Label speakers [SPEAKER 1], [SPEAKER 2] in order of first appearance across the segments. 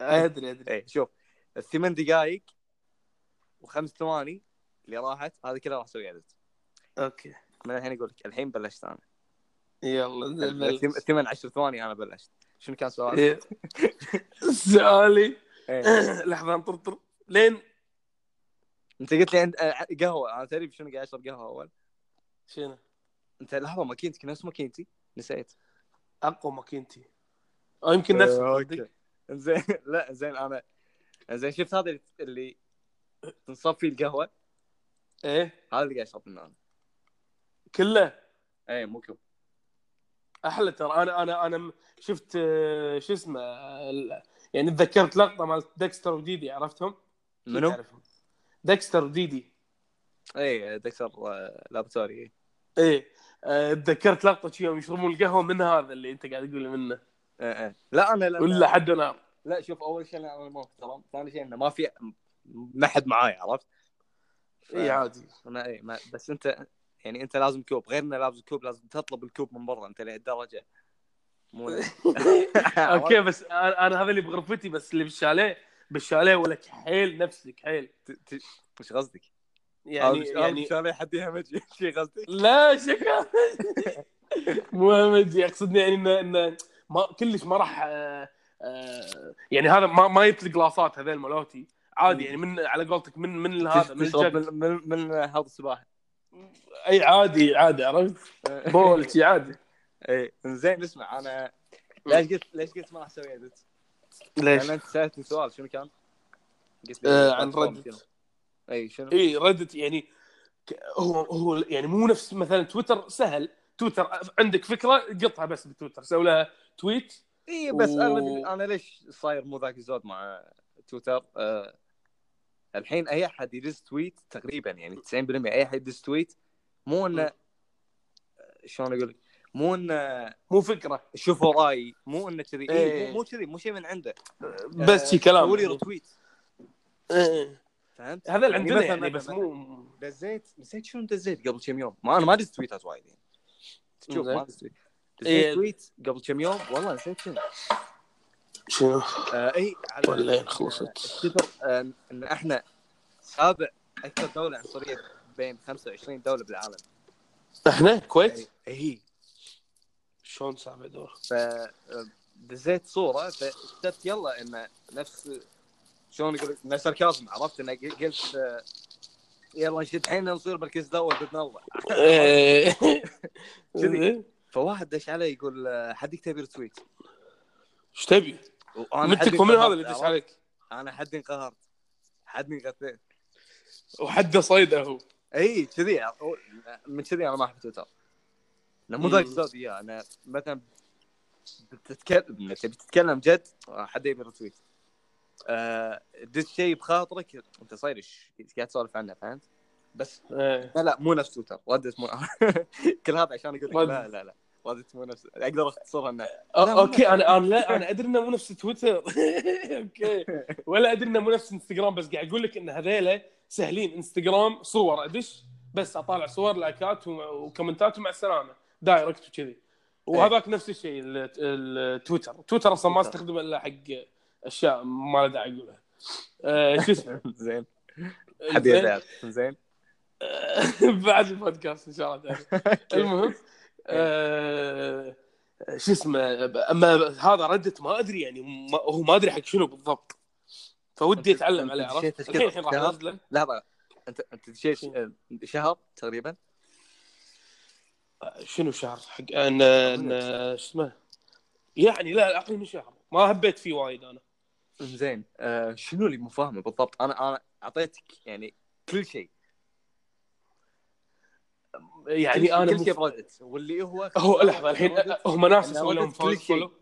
[SPEAKER 1] ادري ادري
[SPEAKER 2] ايه شوف الثمان دقائق وخمس ثواني اللي راحت هذه كلها راح اسوي ادت
[SPEAKER 1] اوكي
[SPEAKER 2] من الحين اقول لك الحين بلشت انا
[SPEAKER 1] يلا
[SPEAKER 2] الثم-
[SPEAKER 1] بلش.
[SPEAKER 2] الثمان عشر ثواني انا بلشت شنو كان سؤال؟
[SPEAKER 1] إيه. سؤالي
[SPEAKER 2] إيه.
[SPEAKER 1] لحظه انطرطر لين
[SPEAKER 2] انت قلت لي عند آه، قهوه انا تدري شنو قاعد اشرب قهوه اول
[SPEAKER 1] شنو
[SPEAKER 2] انت لحظه ماكينتي كان اسمه ماكينتي نسيت
[SPEAKER 1] اقوى ماكينتي او يمكن نفس
[SPEAKER 2] إيه، اوكي زين لا زين انا زين شفت هذا اللي- اللي تنصب فيه القهوه إيه.
[SPEAKER 1] ايه
[SPEAKER 2] هذا اللي قاعد اشرب منه انا
[SPEAKER 1] كله إيه،
[SPEAKER 2] اي مو كوب
[SPEAKER 1] احلى ترى انا انا انا م- شفت آه، شو اسمه آه، ال- يعني تذكرت لقطه مالت ديكستر وديدي عرفتهم؟ أكيد
[SPEAKER 2] منو؟
[SPEAKER 1] تعرفهم. ديكستر وديدي إيه.
[SPEAKER 2] اي دكتور آه، لابتوري إي.
[SPEAKER 1] ايه آه، تذكرت لقطه شي يوم يشربون القهوه من هذا اللي انت قاعد تقول منه
[SPEAKER 2] ايه ايه لا انا لا
[SPEAKER 1] ولا حد نار
[SPEAKER 2] لا شوف اول شيء انا محترم ثاني شيء انه ما في ما حد معاي عرفت؟ ف-
[SPEAKER 1] اي إيه، عادي
[SPEAKER 2] ما اي ما بس انت يعني انت لازم كوب غير انه لازم كوب لازم تطلب الكوب من برا انت لهالدرجه مو
[SPEAKER 1] اوكي بس انا أنا هذا اللي بغرفتي بس اللي بالشاليه بالشاليه ولك حيل نفسك حيل
[SPEAKER 2] ت- ت- وش قصدك؟
[SPEAKER 1] يعني
[SPEAKER 2] يعني
[SPEAKER 1] يعني
[SPEAKER 2] شاليه حد يهمج شي قصدك؟
[SPEAKER 1] لا شكرا مو همجي اقصد يعني انه انه ما كلش ما راح آه، آه، يعني هذا ما ما جبت الجلاصات هذول مالوتي عادي يعني من على قولتك من من هذا من
[SPEAKER 2] تشرب
[SPEAKER 1] الجك.
[SPEAKER 2] من من, من هذا السباحه
[SPEAKER 1] اي عادي عادي عرفت بول شي عادي
[SPEAKER 2] اي زين إيه، اسمع انا ليش قلت ليش قلت ما راح اسوي ادت؟ لان انت سالتني سؤال شنو كان؟ قلت لي
[SPEAKER 1] آه، عن
[SPEAKER 2] بلاتفورم
[SPEAKER 1] Reddit.
[SPEAKER 2] شنو؟ اي إيه، شنو؟
[SPEAKER 1] اي ردت يعني ك- هو هو يعني مو نفس مثلا تويتر سهل تويتر عندك فكره قطها بس بتويتر سوي لها تويت
[SPEAKER 2] اي إيه، بس
[SPEAKER 1] و-
[SPEAKER 2] انا انا ليش صاير مو ذاك الزود مع تويتر؟ أه الحين اي احد يدز تويت تقريبا يعني 90% اي احد يدز تويت مو انه شلون اقول لك؟ مو انه
[SPEAKER 1] مو فكره
[SPEAKER 2] شوفوا رايي مو انه كذي إيه.
[SPEAKER 1] إيه.
[SPEAKER 2] مو- مو كذي مو شيء من عنده
[SPEAKER 1] بس شي كلام
[SPEAKER 2] سووا لي ريتويت
[SPEAKER 1] إيه.
[SPEAKER 2] فهمت؟
[SPEAKER 1] هذا اللي عندنا
[SPEAKER 2] مثلاً-
[SPEAKER 1] يعني بس
[SPEAKER 2] مثلاً-
[SPEAKER 1] مو
[SPEAKER 2] دزيت نسيت شنو دزيت قبل كم يوم ما انا ما دزت تويتات وايد يعني شوف ما
[SPEAKER 1] زين.
[SPEAKER 2] دزت تويت دزيت
[SPEAKER 1] إيه.
[SPEAKER 2] تويت قبل كم يوم والله نسيت شنو
[SPEAKER 1] شنو
[SPEAKER 2] آه اي على
[SPEAKER 1] ولا طيب، خلصت
[SPEAKER 2] الشفر آه، ان احنا سابع اكثر دوله عنصريه بين 25 دوله بالعالم
[SPEAKER 1] احنا الكويت
[SPEAKER 2] اي
[SPEAKER 1] شلون سامع دور
[SPEAKER 2] ف آه، دزيت صوره فكتبت يلا ان نفس شلون اقول لك؟ نفس ساركازم عرفت ان قلت آه، يلا نشد حيلنا نصير مركز الاول باذن الله كذي.
[SPEAKER 1] إيه.
[SPEAKER 2] فواحد دش علي يقول آه، حد يكتب ريتويت
[SPEAKER 1] ايش تبي؟
[SPEAKER 2] وانا حد
[SPEAKER 1] متك ومن هذا
[SPEAKER 2] انقهرت،
[SPEAKER 1] اللي دش
[SPEAKER 2] عرفت؟
[SPEAKER 1] عليك
[SPEAKER 2] انا حد انقهرت حد انقهرت
[SPEAKER 1] وحده صيده هو
[SPEAKER 2] اي كذي من كذي انا ما احب تويتر انا مو
[SPEAKER 1] مم.
[SPEAKER 2] ذاك الزود اياه انا مثلا بتتكلم تبي تتكلم جد آه، حد يبي رتويت آه، دز شيء بخاطرك انت صاير إيش قاعد تسولف عنه فهمت؟ بس
[SPEAKER 1] إيه.
[SPEAKER 2] لا لا مو نفس تويتر ردت مو كل هذا عشان
[SPEAKER 1] رد.
[SPEAKER 2] اقول لك لا لا لا ردت مو نفس اقدر اختصرها انه
[SPEAKER 1] أو-
[SPEAKER 2] لا، مو
[SPEAKER 1] اوكي انا انا لا انا ادري انه مو نفس تويتر اوكي ولا ادري انه مو نفس انستغرام بس قاعد اقول لك ان هذيلا سهلين انستغرام صور ادش بس اطالع صور لايكات و- وكومنتات ومع السلامه دايركت
[SPEAKER 2] إيه.
[SPEAKER 1] وكذي وهذاك نفس الشيء ال- التويتر تويتر اصلا ما
[SPEAKER 2] تويتر.
[SPEAKER 1] استخدمه الا حق اشياء ما له داعي اقولها أه، شو اسمه
[SPEAKER 2] زين حد يبي زين
[SPEAKER 1] آه، بعد البودكاست ان شاء الله تعالى. المهم آه، شو اسمه اما هذا ردت ما ادري يعني ما هو ما ادري حق شنو بالضبط فودي اتعلم عليه عرفت
[SPEAKER 2] شيء
[SPEAKER 1] الحين الحين راح
[SPEAKER 2] تذكرة.
[SPEAKER 1] انزله
[SPEAKER 2] لحظه انت انت دشيت آه، شهر تقريبا
[SPEAKER 1] شنو شهر حق ان ان شو اسمه يعني لا اقل من شهر ما هبيت فيه وايد انا
[SPEAKER 2] زين آه شنو اللي مو فاهمه بالضبط انا انا اعطيتك يعني كل شيء
[SPEAKER 1] يعني
[SPEAKER 2] كل-
[SPEAKER 1] انا
[SPEAKER 2] كل شيء
[SPEAKER 1] مف...
[SPEAKER 2] بردت واللي هو
[SPEAKER 1] هو لحظه الحين هم ناس يسوون لهم
[SPEAKER 2] ردت كل
[SPEAKER 1] فولو-
[SPEAKER 2] شيء.
[SPEAKER 1] فولو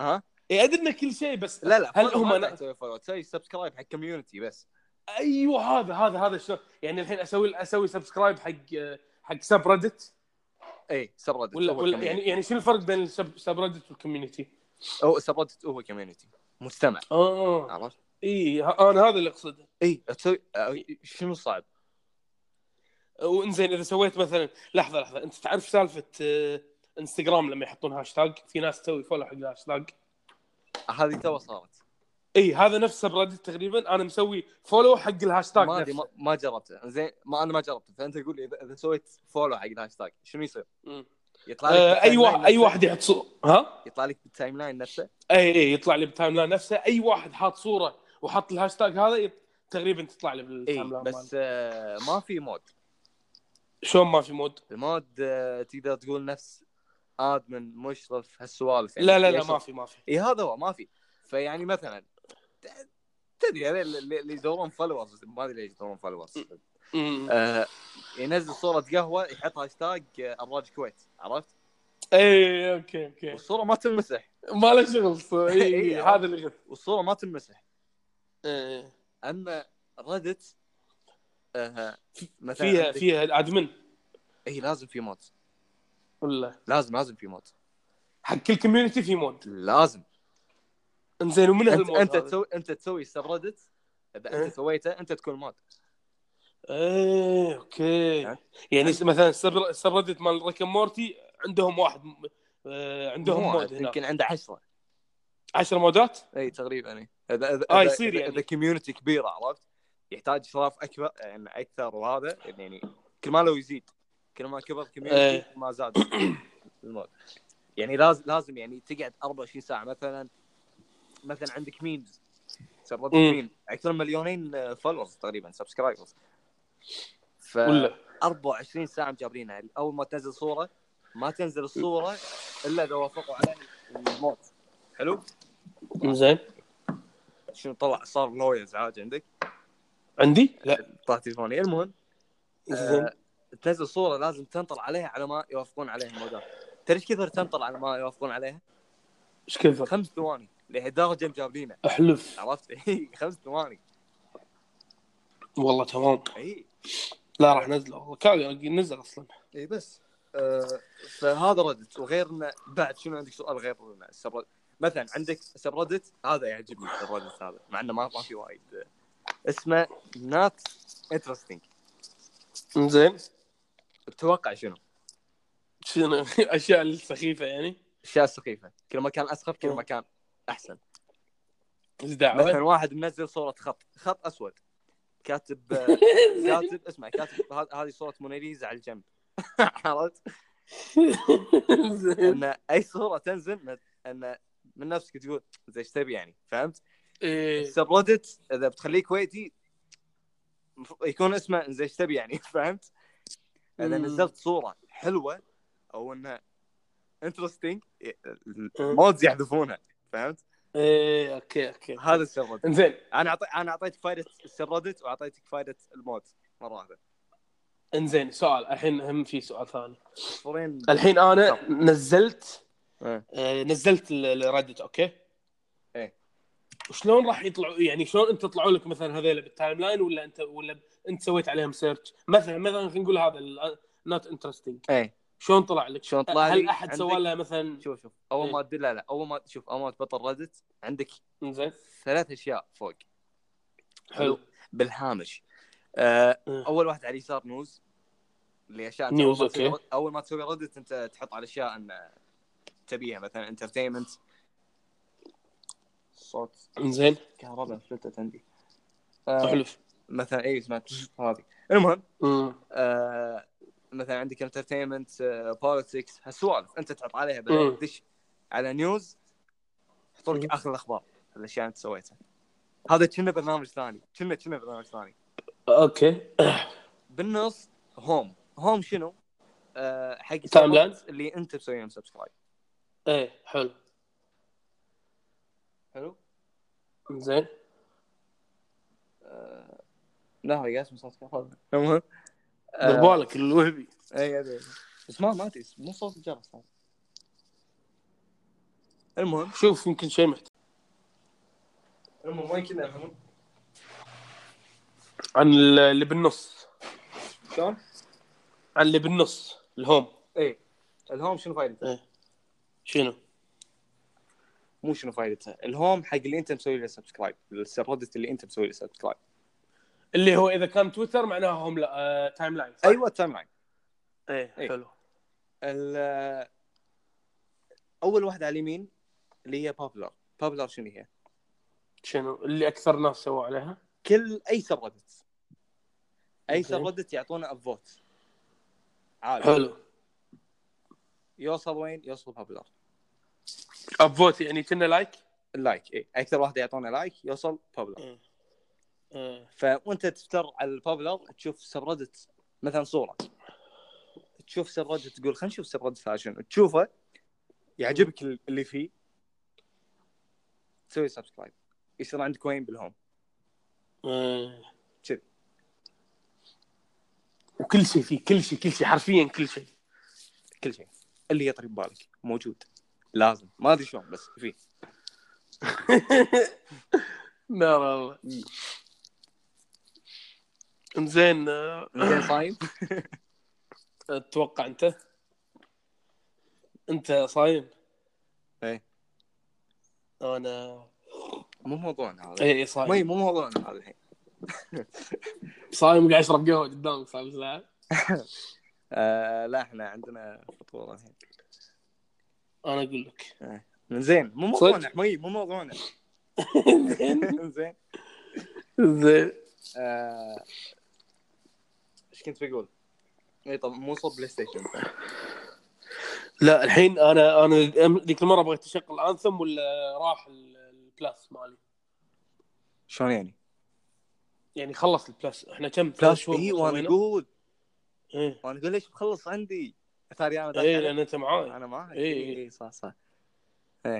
[SPEAKER 2] ها
[SPEAKER 1] اي ادري إنه إيه، كل شيء بس
[SPEAKER 2] لا لا
[SPEAKER 1] هل
[SPEAKER 2] فولو
[SPEAKER 1] هم
[SPEAKER 2] ما
[SPEAKER 1] نا-
[SPEAKER 2] تقدر تسوي فولو تسوي سبسكرايب حق كوميونتي بس
[SPEAKER 1] ايوه هذا هذا هذا شلون يعني الحين اسوي اسوي سبسكرايب حق حق سب ريدت
[SPEAKER 2] اي سبردت
[SPEAKER 1] ولا,
[SPEAKER 2] هو
[SPEAKER 1] ولا
[SPEAKER 2] إيه، community.
[SPEAKER 1] يعني يعني شنو الفرق بين السب سب ريدت والكوميونتي؟
[SPEAKER 2] او سبردت هو كوميونتي مجتمع
[SPEAKER 1] اه
[SPEAKER 2] عرفت
[SPEAKER 1] اي ه- انا هذا اللي اقصده
[SPEAKER 2] اي تسوي آه، شنو صعب
[SPEAKER 1] وانزين اذا سويت مثلا لحظه لحظه انت تعرف سالفه آه، انستغرام لما يحطون هاشتاج في ناس تسوي فولو حق الهاشتاج
[SPEAKER 2] هذه تو صارت
[SPEAKER 1] اي هذا نفسه بريدت تقريبا انا مسوي فولو حق الهاشتاج
[SPEAKER 2] ما ادري
[SPEAKER 1] نفسه.
[SPEAKER 2] ما- ما جربته زين ما انا ما جربته فانت قول لي اذا إذا سويت فولو حق الهاشتاج شنو يصير؟
[SPEAKER 1] مم.
[SPEAKER 2] يطلع لك
[SPEAKER 1] آه، اي
[SPEAKER 2] بالتايم لاين
[SPEAKER 1] واحد اي
[SPEAKER 2] نفسه؟
[SPEAKER 1] واحد يحط صو- ها
[SPEAKER 2] يطلع لك بالتايم لاين نفسه
[SPEAKER 1] اي اي إيه، يطلع لي بالتايم لاين نفسه اي واحد حاط صوره وحط الهاشتاج هذا يط- تقريبا تطلع لي
[SPEAKER 2] اي
[SPEAKER 1] بالتايم لاين بس
[SPEAKER 2] بس آه، ما في مود
[SPEAKER 1] شلون ما في مود؟
[SPEAKER 2] المود آه، تقدر تقول نفس ادمن مشرف هالسوالف يعني.
[SPEAKER 1] لا لا لا
[SPEAKER 2] يشرف.
[SPEAKER 1] ما في ما في
[SPEAKER 2] اي هذا هو ما في فيعني مثلا ت- تدري هذول اللي اللي يدورون فولورز ما ادري ليش يدورون فولورز
[SPEAKER 1] مم.
[SPEAKER 2] آه ينزل صوره قهوه يحط هاشتاج آه، الراج كويت عرفت؟
[SPEAKER 1] إيه. اي اوكي اوكي
[SPEAKER 2] والصوره ما تنمسح
[SPEAKER 1] إيه، ما له شغل صو- إي،
[SPEAKER 2] إي،
[SPEAKER 1] إي،
[SPEAKER 2] إي.
[SPEAKER 1] هذا اللي غث
[SPEAKER 2] والصوره ما تنمسح
[SPEAKER 1] إي، إي.
[SPEAKER 2] اما ريدت آه مثلا
[SPEAKER 1] فيها
[SPEAKER 2] عندك-
[SPEAKER 1] فيها الادمن
[SPEAKER 2] اي لازم في مود
[SPEAKER 1] ولا
[SPEAKER 2] لازم لازم في مود
[SPEAKER 1] حق كل كوميونتي في مود
[SPEAKER 2] لازم
[SPEAKER 1] انزين ومن
[SPEAKER 2] انت
[SPEAKER 1] هالمود
[SPEAKER 2] انت
[SPEAKER 1] هذا؟
[SPEAKER 2] تسوي انت تسوي سبريدت اذا
[SPEAKER 1] إيه.
[SPEAKER 2] انت سويته انت تكون مود
[SPEAKER 1] ايه اوكي
[SPEAKER 2] ها؟
[SPEAKER 1] يعني مثلا السب- السبريدت مال ريك أند مورتي عندهم واحد م- آه، عندهم
[SPEAKER 2] مو
[SPEAKER 1] مود
[SPEAKER 2] واحد،
[SPEAKER 1] هناك
[SPEAKER 2] يمكن عنده عشرة
[SPEAKER 1] 10 مودات
[SPEAKER 2] اي تقريبا اي اذا اذا
[SPEAKER 1] آه،
[SPEAKER 2] إذا-
[SPEAKER 1] يصير
[SPEAKER 2] إذا-
[SPEAKER 1] يعني.
[SPEAKER 2] اذا كوميونتي كبيره عرفت يحتاج اشراف اكبر يعني اكثر وهذا يعني كل ما لو يزيد كل ما كبر
[SPEAKER 1] إيه.
[SPEAKER 2] كوميونتي ما زاد المود يعني لازم لازم يعني تقعد 24 ساعه مثلا مثلا عندك ميمز سربت
[SPEAKER 1] مم.
[SPEAKER 2] ميم اكثر من مليونين فولورز تقريبا سبسكرايبرز ف
[SPEAKER 1] ولا
[SPEAKER 2] 24 ساعه مجابرينها اول ما تنزل صوره ما تنزل الصوره الا اذا وافقوا على المود حلو
[SPEAKER 1] زين
[SPEAKER 2] شنو طلع صار لويز عاد عندك
[SPEAKER 1] عندي؟ لا
[SPEAKER 2] طلع تليفوني المهم
[SPEAKER 1] زين
[SPEAKER 2] تنزل صوره لازم تنطر عليها على ما يوافقون عليها المودات تدري ايش كثر تنطر على ما يوافقون عليها؟
[SPEAKER 1] ايش كثر؟
[SPEAKER 2] خمس ثواني لهالدرجه مجابلينه
[SPEAKER 1] احلف
[SPEAKER 2] عرفت؟ اي خمس ثواني
[SPEAKER 1] والله تمام
[SPEAKER 2] اي
[SPEAKER 1] لا راح نزله والله كان نزل اصلا
[SPEAKER 2] اي إيه بس آه فهذا ردت وغير إنه بعد شنو عندك سؤال غير إنه السبرد مثلا عندك سبردت هذا يعجبني السبردت هذا مع انه ما ما في وايد آه، اسمه نات انترستنج
[SPEAKER 1] زين
[SPEAKER 2] تتوقع شنو؟
[SPEAKER 1] شنو اشياء السخيفه يعني
[SPEAKER 2] اشياء سخيفه كل ما كان اسخف كل ما كان احسن
[SPEAKER 1] ايش
[SPEAKER 2] مثلا
[SPEAKER 1] دعوه؟
[SPEAKER 2] واحد منزل صوره خط خط اسود كاتب آه، كاتب اسمع كاتب ه- هذه صوره موناليزا على الجنب عرفت؟
[SPEAKER 1] زين
[SPEAKER 2] ان اي صوره تنزل من- ان من نفسك تقول زي ايش تبي يعني فهمت؟
[SPEAKER 1] إيه.
[SPEAKER 2] سبردت اذا بتخليه كويتي مف- يكون اسمه زي ايش تبي يعني فهمت؟ اذا
[SPEAKER 1] مم.
[SPEAKER 2] نزلت صوره حلوه او انها انترستنج المودز يحذفونها فهمت؟
[SPEAKER 1] ايه اوكي اوكي
[SPEAKER 2] هذا السبردت
[SPEAKER 1] انزين
[SPEAKER 2] انا أعطي... انا اعطيتك فائده السردت واعطيتك فائده المود مره واحده
[SPEAKER 1] انزين سؤال الحين هم في سؤال ثاني
[SPEAKER 2] صفرين
[SPEAKER 1] الحين انا
[SPEAKER 2] طب.
[SPEAKER 1] نزلت
[SPEAKER 2] إيه.
[SPEAKER 1] آه، نزلت الريدت اوكي؟
[SPEAKER 2] إيه.
[SPEAKER 1] شلون راح يطلعوا يعني شلون انت طلعوا لك مثلا هذيلا بالتايم لاين ولا انت ولا انت سويت عليهم سيرش مثلا مثلا خلينا نقول هذا نوت انترستنج
[SPEAKER 2] ايه
[SPEAKER 1] شلون طلع لك؟
[SPEAKER 2] شلون طلع
[SPEAKER 1] هل
[SPEAKER 2] لي؟
[SPEAKER 1] احد سوى
[SPEAKER 2] عندك-
[SPEAKER 1] له مثلا
[SPEAKER 2] شوف شوف اول
[SPEAKER 1] إيه.
[SPEAKER 2] ما تدل لا لا اول ما شوف اول ما تبطل ردت عندك
[SPEAKER 1] انزين
[SPEAKER 2] ثلاث اشياء فوق
[SPEAKER 1] حلو
[SPEAKER 2] بالهامش آه...
[SPEAKER 1] إيه.
[SPEAKER 2] اول واحد على اليسار نوز اللي اشياء أنت
[SPEAKER 1] نيوز،
[SPEAKER 2] أول ما تسوي
[SPEAKER 1] أوكي.
[SPEAKER 2] رد- اول ما تسوي ردت انت تحط على اشياء ان تبيها مثلا انترتينمنت صوت
[SPEAKER 1] انزين
[SPEAKER 2] كهرباء فلتت عندي آه.
[SPEAKER 1] حلو
[SPEAKER 2] مثلا اي سمعت هذه المهم
[SPEAKER 1] أمم.
[SPEAKER 2] آه، مثلا عندك انترتينمنت بوليتكس هالسوالف انت تحط عليها
[SPEAKER 1] مم.
[SPEAKER 2] بعدين تدش على نيوز يحط لك
[SPEAKER 1] مم.
[SPEAKER 2] اخر الاخبار الاشياء اللي انت سويتها هذا كنا برنامج ثاني كنا كنا برنامج ثاني
[SPEAKER 1] اوكي
[SPEAKER 2] بالنص هوم هوم شنو؟ آه، حق
[SPEAKER 1] تايم لاين؟
[SPEAKER 2] السبورت اللي انت مسويهم سبسكرايب
[SPEAKER 1] ايه حلو
[SPEAKER 2] حلو
[SPEAKER 1] انزين
[SPEAKER 2] لا هو قاسم صوت كهرباء المهم
[SPEAKER 1] دير
[SPEAKER 2] آه، إيه،
[SPEAKER 1] بالك الوهبي
[SPEAKER 2] اي ادري بس ما ما ادري مو صوت الجرس هذا المهم
[SPEAKER 1] شوف يمكن شيء محتاج
[SPEAKER 2] المهم وين كنا المهم
[SPEAKER 1] عن اللي بالنص
[SPEAKER 2] شلون؟
[SPEAKER 1] عن اللي بالنص الهوم
[SPEAKER 2] اي الهوم إيه. شنو فايدته؟
[SPEAKER 1] شنو؟
[SPEAKER 2] مو شنو فائدتها الهوم حق اللي انت مسوي له سبسكرايب السردت اللي انت مسوي له سبسكرايب
[SPEAKER 1] اللي هو اذا كان تويتر معناها هم لا آه، تايم لاين صح؟
[SPEAKER 2] ايوه التايم لاين
[SPEAKER 1] ايه
[SPEAKER 2] أي.
[SPEAKER 1] حلو
[SPEAKER 2] ال- آه، اول واحده على اليمين اللي هي بابلر بابلر شنو هي؟
[SPEAKER 1] شنو اللي اكثر ناس سووا عليها
[SPEAKER 2] كل اي سبريدت اي
[SPEAKER 1] أوكي.
[SPEAKER 2] سبريدت يعطونا افوت عالي
[SPEAKER 1] حلو
[SPEAKER 2] يوصل وين يوصل بابلر
[SPEAKER 1] ابفوت يعني كنا لايك
[SPEAKER 2] اللايك اي اكثر واحد يعطونا لايك يوصل
[SPEAKER 1] إيه.
[SPEAKER 2] بابلر إيه.
[SPEAKER 1] آه.
[SPEAKER 2] فوانت تفتر على البابلر تشوف سبريدت مثلا صوره تشوف سبريدت تقول خلينا نشوف سبريدت هذا شنو تشوفه يعجبك اللي فيه تسوي سبسكرايب يصير عندك وين بالهوم
[SPEAKER 1] آه.
[SPEAKER 2] كذي.
[SPEAKER 1] وكل شيء فيه كل شيء كل شيء حرفيا كل شيء
[SPEAKER 2] كل شيء اللي يطري ببالك موجود لازم ما ادري شلون بس فيه
[SPEAKER 1] نار الله انزين آه،
[SPEAKER 2] زين صايم
[SPEAKER 1] اتوقع آه، انت انت صايم
[SPEAKER 2] إيه.
[SPEAKER 1] انا
[SPEAKER 2] مو موضوعنا هذا
[SPEAKER 1] اي
[SPEAKER 2] مي
[SPEAKER 1] صايم
[SPEAKER 2] مو موضوعنا هذا الحين
[SPEAKER 1] صايم قاعد اشرب قهوه قدامك صايم ساعه
[SPEAKER 2] آه لا احنا عندنا فطور الحين
[SPEAKER 1] انا اقول لك
[SPEAKER 2] زين مو
[SPEAKER 1] صدق؟
[SPEAKER 2] موضوعنا مي مو موضوعنا
[SPEAKER 1] زين
[SPEAKER 2] زين
[SPEAKER 1] زين
[SPEAKER 2] آه، ايش كنت بقول؟ اي طب مو صوب بلاي ستيشن
[SPEAKER 1] لا الحين انا انا أم- ذيك المره بغيت اشغل انثم ولا راح ال- البلاس مالي
[SPEAKER 2] شلون يعني؟
[SPEAKER 1] يعني خلص البلاس احنا كم ثلاث
[SPEAKER 2] بلاش
[SPEAKER 1] شهور
[SPEAKER 2] اي إيه، وانا
[SPEAKER 1] سوينا؟
[SPEAKER 2] اقول
[SPEAKER 1] ايه
[SPEAKER 2] وانا اقول ليش مخلص عندي؟ ثاني انا داخل
[SPEAKER 1] إيه،
[SPEAKER 2] عليك.
[SPEAKER 1] لان انت معاي
[SPEAKER 2] انا معك
[SPEAKER 1] إي.
[SPEAKER 2] اي اي إيه، صح صح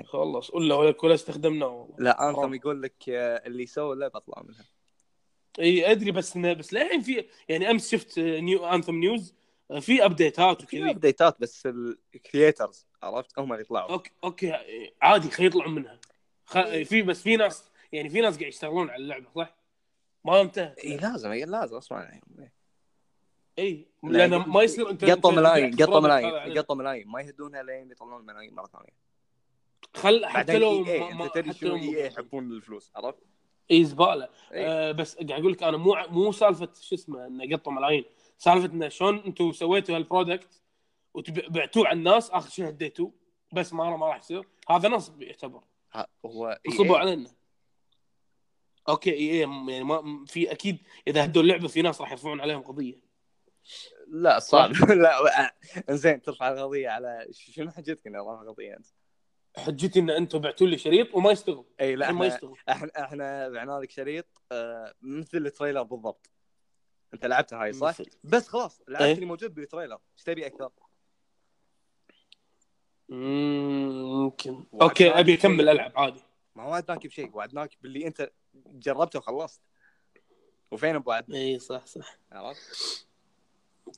[SPEAKER 1] خلص ولا ولا ولا استخدمناه والله
[SPEAKER 2] لا انثم
[SPEAKER 1] حرام.
[SPEAKER 2] يقول لك آه، اللي سوى لا بطلع منها
[SPEAKER 1] اي ادري بس إنه- بس للحين في يعني امس شفت آه، نيو انثم نيوز آه، في ابديتات
[SPEAKER 2] في
[SPEAKER 1] وكذي
[SPEAKER 2] ابديتات بس الكرييترز عرفت هم اللي يطلعوا
[SPEAKER 1] اوكي اوكي آه، عادي خلي يطلعون منها خ... آه، في بس في ناس يعني في ناس قاعد يشتغلون على اللعبه صح؟ ما انتهت
[SPEAKER 2] اي إيه، لازم اي لازم اسمع عليهم
[SPEAKER 1] اي
[SPEAKER 2] لا،
[SPEAKER 1] لان
[SPEAKER 2] قط-
[SPEAKER 1] ما يصير انت
[SPEAKER 2] قطوا
[SPEAKER 1] أنت- يعني
[SPEAKER 2] ملايين
[SPEAKER 1] أنت-
[SPEAKER 2] قطوا
[SPEAKER 1] هذا
[SPEAKER 2] ملايين
[SPEAKER 1] عليه.
[SPEAKER 2] قطوا ملايين ما يهدونها لين يطلعون ملايين مره ثانيه
[SPEAKER 1] خل حتى
[SPEAKER 2] بعدين
[SPEAKER 1] لو
[SPEAKER 2] لو
[SPEAKER 1] ما-
[SPEAKER 2] اي
[SPEAKER 1] ما-
[SPEAKER 2] انت تدري
[SPEAKER 1] حتى
[SPEAKER 2] شنو
[SPEAKER 1] لو-
[SPEAKER 2] اي يحبون الفلوس عرفت؟
[SPEAKER 1] اي زباله
[SPEAKER 2] إي.
[SPEAKER 1] إيه، آه بس قاعد اقول لك انا مو مو سالفه شو اسمه انه قطوا ملايين سالفه انه شلون انتم سويتوا هالبرودكت وبعتوه على الناس اخر شيء هديتوه بس ما ما راح يصير هذا نصب يعتبر
[SPEAKER 2] ها- هو EA
[SPEAKER 1] نصبوا علينا اوكي اي اي م- يعني ما م- في اكيد اذا هدوا اللعبه في ناس راح يرفعون عليهم قضيه
[SPEAKER 2] لا صعب لا زين ترفع قضيه على ش- شنو حجتك اني ارفع قضيه انت؟
[SPEAKER 1] حجتي ان انتم بعتوا لي شريط وما يشتغل
[SPEAKER 2] اي لا
[SPEAKER 1] ما
[SPEAKER 2] احنا
[SPEAKER 1] يشتغل
[SPEAKER 2] احنا, احنا بعنا لك شريط آه، مثل التريلر بالضبط انت لعبتها هاي إيه، صح؟
[SPEAKER 1] مثل.
[SPEAKER 2] بس خلاص لعبت
[SPEAKER 1] إيه.
[SPEAKER 2] اللي موجود بالتريلر ايش تبي اكثر؟
[SPEAKER 1] ممكن اوكي ابي اكمل العب عادي
[SPEAKER 2] ما وعدناك بشيء وعدناك باللي انت جربته وخلصت وفين ابو عدنان
[SPEAKER 1] اي إيه، صح صح
[SPEAKER 2] عرفت؟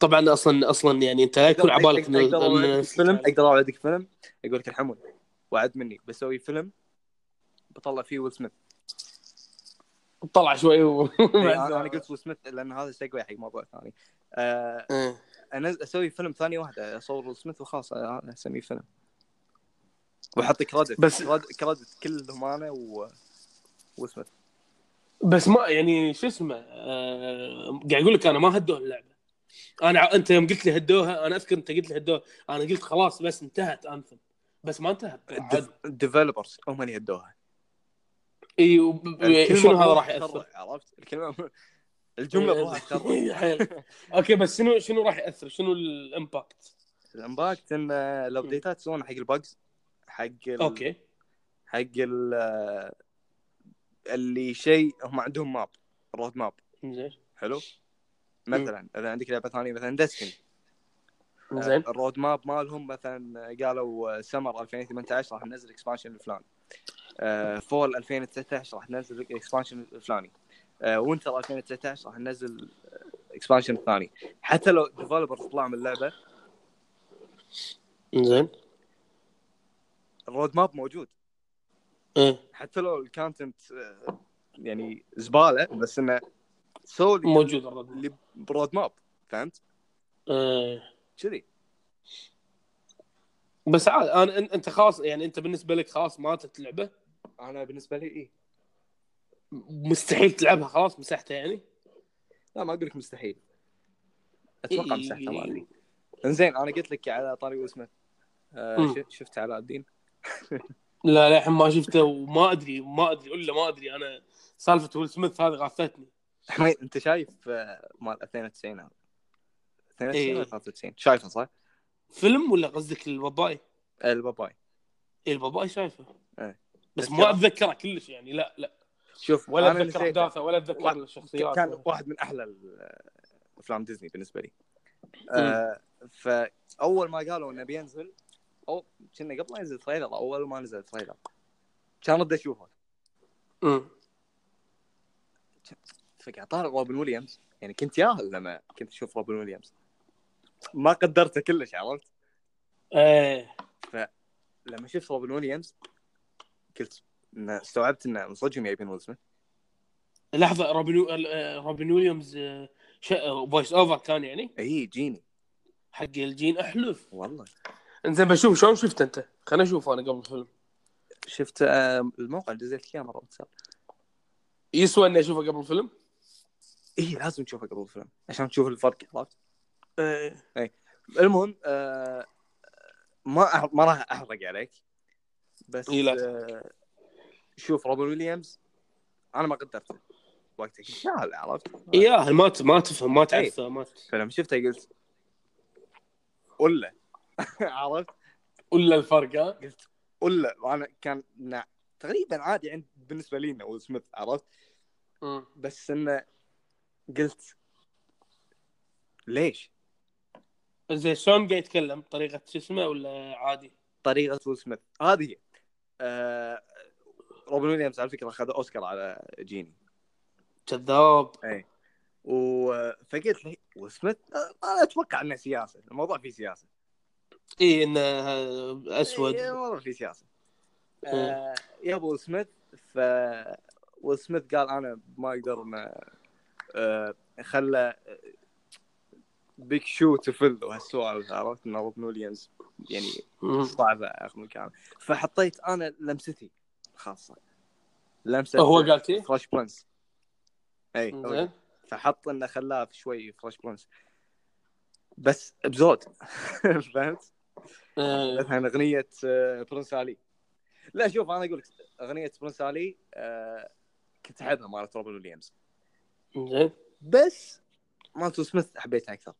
[SPEAKER 1] طبعا اصلا اصلا يعني انت لا يكون على بالك
[SPEAKER 2] أقدر- اقدر اوعدك فيلم
[SPEAKER 1] ان
[SPEAKER 2] اقدر اوعدك فيلم اقول لك الحمد وعد مني بسوي فيلم بطلع فيه ويل سميث
[SPEAKER 1] طلع شوي و...
[SPEAKER 2] إيه، انا أنا قلت ويل سميث لان هذا سيجوي حق موضوع ثاني آه،
[SPEAKER 1] إيه.
[SPEAKER 2] انا اسوي فيلم ثانيه واحده اصور ويل سميث وخلاص آه، أنا اسميه فيلم واحط كريدت
[SPEAKER 1] بس-
[SPEAKER 2] كريدت كلهم انا و ويل سميث
[SPEAKER 1] بس ما يعني شو اسمه آه، قاعد اقول لك انا ما هدوها اللعبه انا ع- انت يوم قلت لي هدوها انا اذكر انت قلت لي هدوها انا قلت خلاص بس انتهت انثم بس ما انتهت عادي.
[SPEAKER 2] الديفلوبرز هم اللي هدوها
[SPEAKER 1] اي وب-
[SPEAKER 2] الكلمة
[SPEAKER 1] إيه، يعني شنو هذا
[SPEAKER 2] بروحها
[SPEAKER 1] راح ياثر؟
[SPEAKER 2] تخرع، عرفت الكلمه الجمله بروحها تخرع
[SPEAKER 1] إي، إيه، حيل. اوكي بس شنو شنو راح ياثر؟ شنو الامباكت؟
[SPEAKER 2] الامباكت ان الابديتات يسوونها حق البجز حق ال...
[SPEAKER 1] اوكي
[SPEAKER 2] حق ال... آه، اللي شيء هم عندهم ماب رود ماب
[SPEAKER 1] زين
[SPEAKER 2] حلو مثلا اذا عندك لعبه ثانيه مثلا دستن آه.
[SPEAKER 1] زين
[SPEAKER 2] الرود ماب مالهم مثلا قالوا آه، سمر 2018 راح ننزل اكسبانشن الفلاني آه، فول 2019 راح ننزل اكسبانشن الفلاني آه، وينتر 2019 راح ننزل اكسبانشن الثاني حتى لو ديفلوبر طلع من اللعبه
[SPEAKER 1] زين
[SPEAKER 2] الرود ماب موجود
[SPEAKER 1] إيه.
[SPEAKER 2] حتى لو الكونتنت آه، يعني زباله بس انه سو اللي-
[SPEAKER 1] موجود الرد
[SPEAKER 2] اللي برود ماب فهمت؟
[SPEAKER 1] إيه.
[SPEAKER 2] كذي
[SPEAKER 1] بس عاد انا أن- انت خلاص يعني انت بالنسبه لك خلاص ماتت اللعبه
[SPEAKER 2] انا بالنسبه لي ايه
[SPEAKER 1] مستحيل تلعبها خلاص مسحتها يعني
[SPEAKER 2] لا ما اقول لك مستحيل إيه. اتوقع
[SPEAKER 1] إي-
[SPEAKER 2] مساحته ما ادري انزين انا قلت لك على طاري وسمه آه
[SPEAKER 1] مم.
[SPEAKER 2] ش- شفت علاء الدين
[SPEAKER 1] لا للحين ما شفته وما ادري ما ادري الا ما ادري انا سالفه ويل سميث هذه غافتني
[SPEAKER 2] حميد انت شايف آه، مال 92 هذا 92
[SPEAKER 1] إيه.
[SPEAKER 2] ولا 93 شايفه صح؟
[SPEAKER 1] فيلم ولا قصدك الباباي؟
[SPEAKER 2] الباباي
[SPEAKER 1] اي الباباي شايفه
[SPEAKER 2] إيه.
[SPEAKER 1] بس ما اتذكره كلش يعني لا لا
[SPEAKER 2] شوف
[SPEAKER 1] ولا
[SPEAKER 2] أنا
[SPEAKER 1] اتذكر
[SPEAKER 2] نسيته.
[SPEAKER 1] احداثه ولا اتذكر
[SPEAKER 2] واحد-
[SPEAKER 1] الشخصيات
[SPEAKER 2] كان واحد من احلى ال- افلام ديزني بالنسبه لي آه فاول ما قالوا انه بينزل او كنا قبل لا ينزل تريلر اول ما نزل تريلر كان ودي اشوفه
[SPEAKER 1] أمم.
[SPEAKER 2] فقاعد طالع روبن ويليامز يعني كنت ياهل لما كنت اشوف روبن ويليامز ما قدرته كلش عرفت
[SPEAKER 1] ايه
[SPEAKER 2] لما شفت روبن ويليامز قلت إنه استوعبت انه منصجم يبين ويل سميث
[SPEAKER 1] لحظه روبن روبن ويليامز آه، شا- فويس اوفر كان يعني
[SPEAKER 2] اي جيني
[SPEAKER 1] حق الجين احلف
[SPEAKER 2] والله
[SPEAKER 1] انزين بشوف شلون شفت انت خليني اشوف انا قبل الفيلم
[SPEAKER 2] شفت آه، الموقع اللي نزلت فيه مره سابقة.
[SPEAKER 1] يسوى اني اشوفه قبل الفيلم؟
[SPEAKER 2] اي لازم تشوفه قبل الفيلم عشان تشوف الفرق عرفت إيه.
[SPEAKER 1] ايه
[SPEAKER 2] المهم آه ما أح- ما راح احرق عليك بس
[SPEAKER 1] إي لا.
[SPEAKER 2] آه شوف روبن ويليامز انا ما قدرته وقتها كنت شاعل عرفت
[SPEAKER 1] ياهل ما ت- ما تفهم
[SPEAKER 2] إيه.
[SPEAKER 1] ما تعرفه ما ت-
[SPEAKER 2] فلما شفته قلت ولا عرفت
[SPEAKER 1] ولا الفرق ها؟
[SPEAKER 2] قلت ولا انا كان نع- تقريبا عادي عند بالنسبه لي انه ويل سميث عرفت
[SPEAKER 1] أمم.
[SPEAKER 2] بس انه قلت ليش؟
[SPEAKER 1] زين شلون قاعد يتكلم طريقه شو اسمه ولا عادي؟
[SPEAKER 2] طريقه ويل سميث هذه هي آه روبن ويليامز على فكره اخذ اوسكار على جيني
[SPEAKER 1] كذاب
[SPEAKER 2] وفقلت لي ويل سميث آه، انا اتوقع انه سياسه الموضوع فيه سياسه
[SPEAKER 1] اي انه آه، اسود
[SPEAKER 2] إيه، الموضوع فيه سياسه آه يا ابو ويل سميث ف ويل سميث قال انا ما اقدر ما آه خلى بيج شو تفل وهالسوالف عرفت انه روبن ويليامز يعني
[SPEAKER 1] أمم.
[SPEAKER 2] صعب اخذ مكان فحطيت انا لمستي الخاصه لمسه
[SPEAKER 1] هو قال كذي؟
[SPEAKER 2] فلاش برنس اي هو
[SPEAKER 1] زين
[SPEAKER 2] فحط انه خلاه في شوي فريش برنس بس بزود فهمت؟
[SPEAKER 1] آه،
[SPEAKER 2] مثلا اغنيه آه، برنس علي لا شوف انا اقول لك اغنيه برنس علي آه، كنت احبها مالت روبن ويليامز
[SPEAKER 1] زين
[SPEAKER 2] بس مالت ويل سميث حبيتها اكثر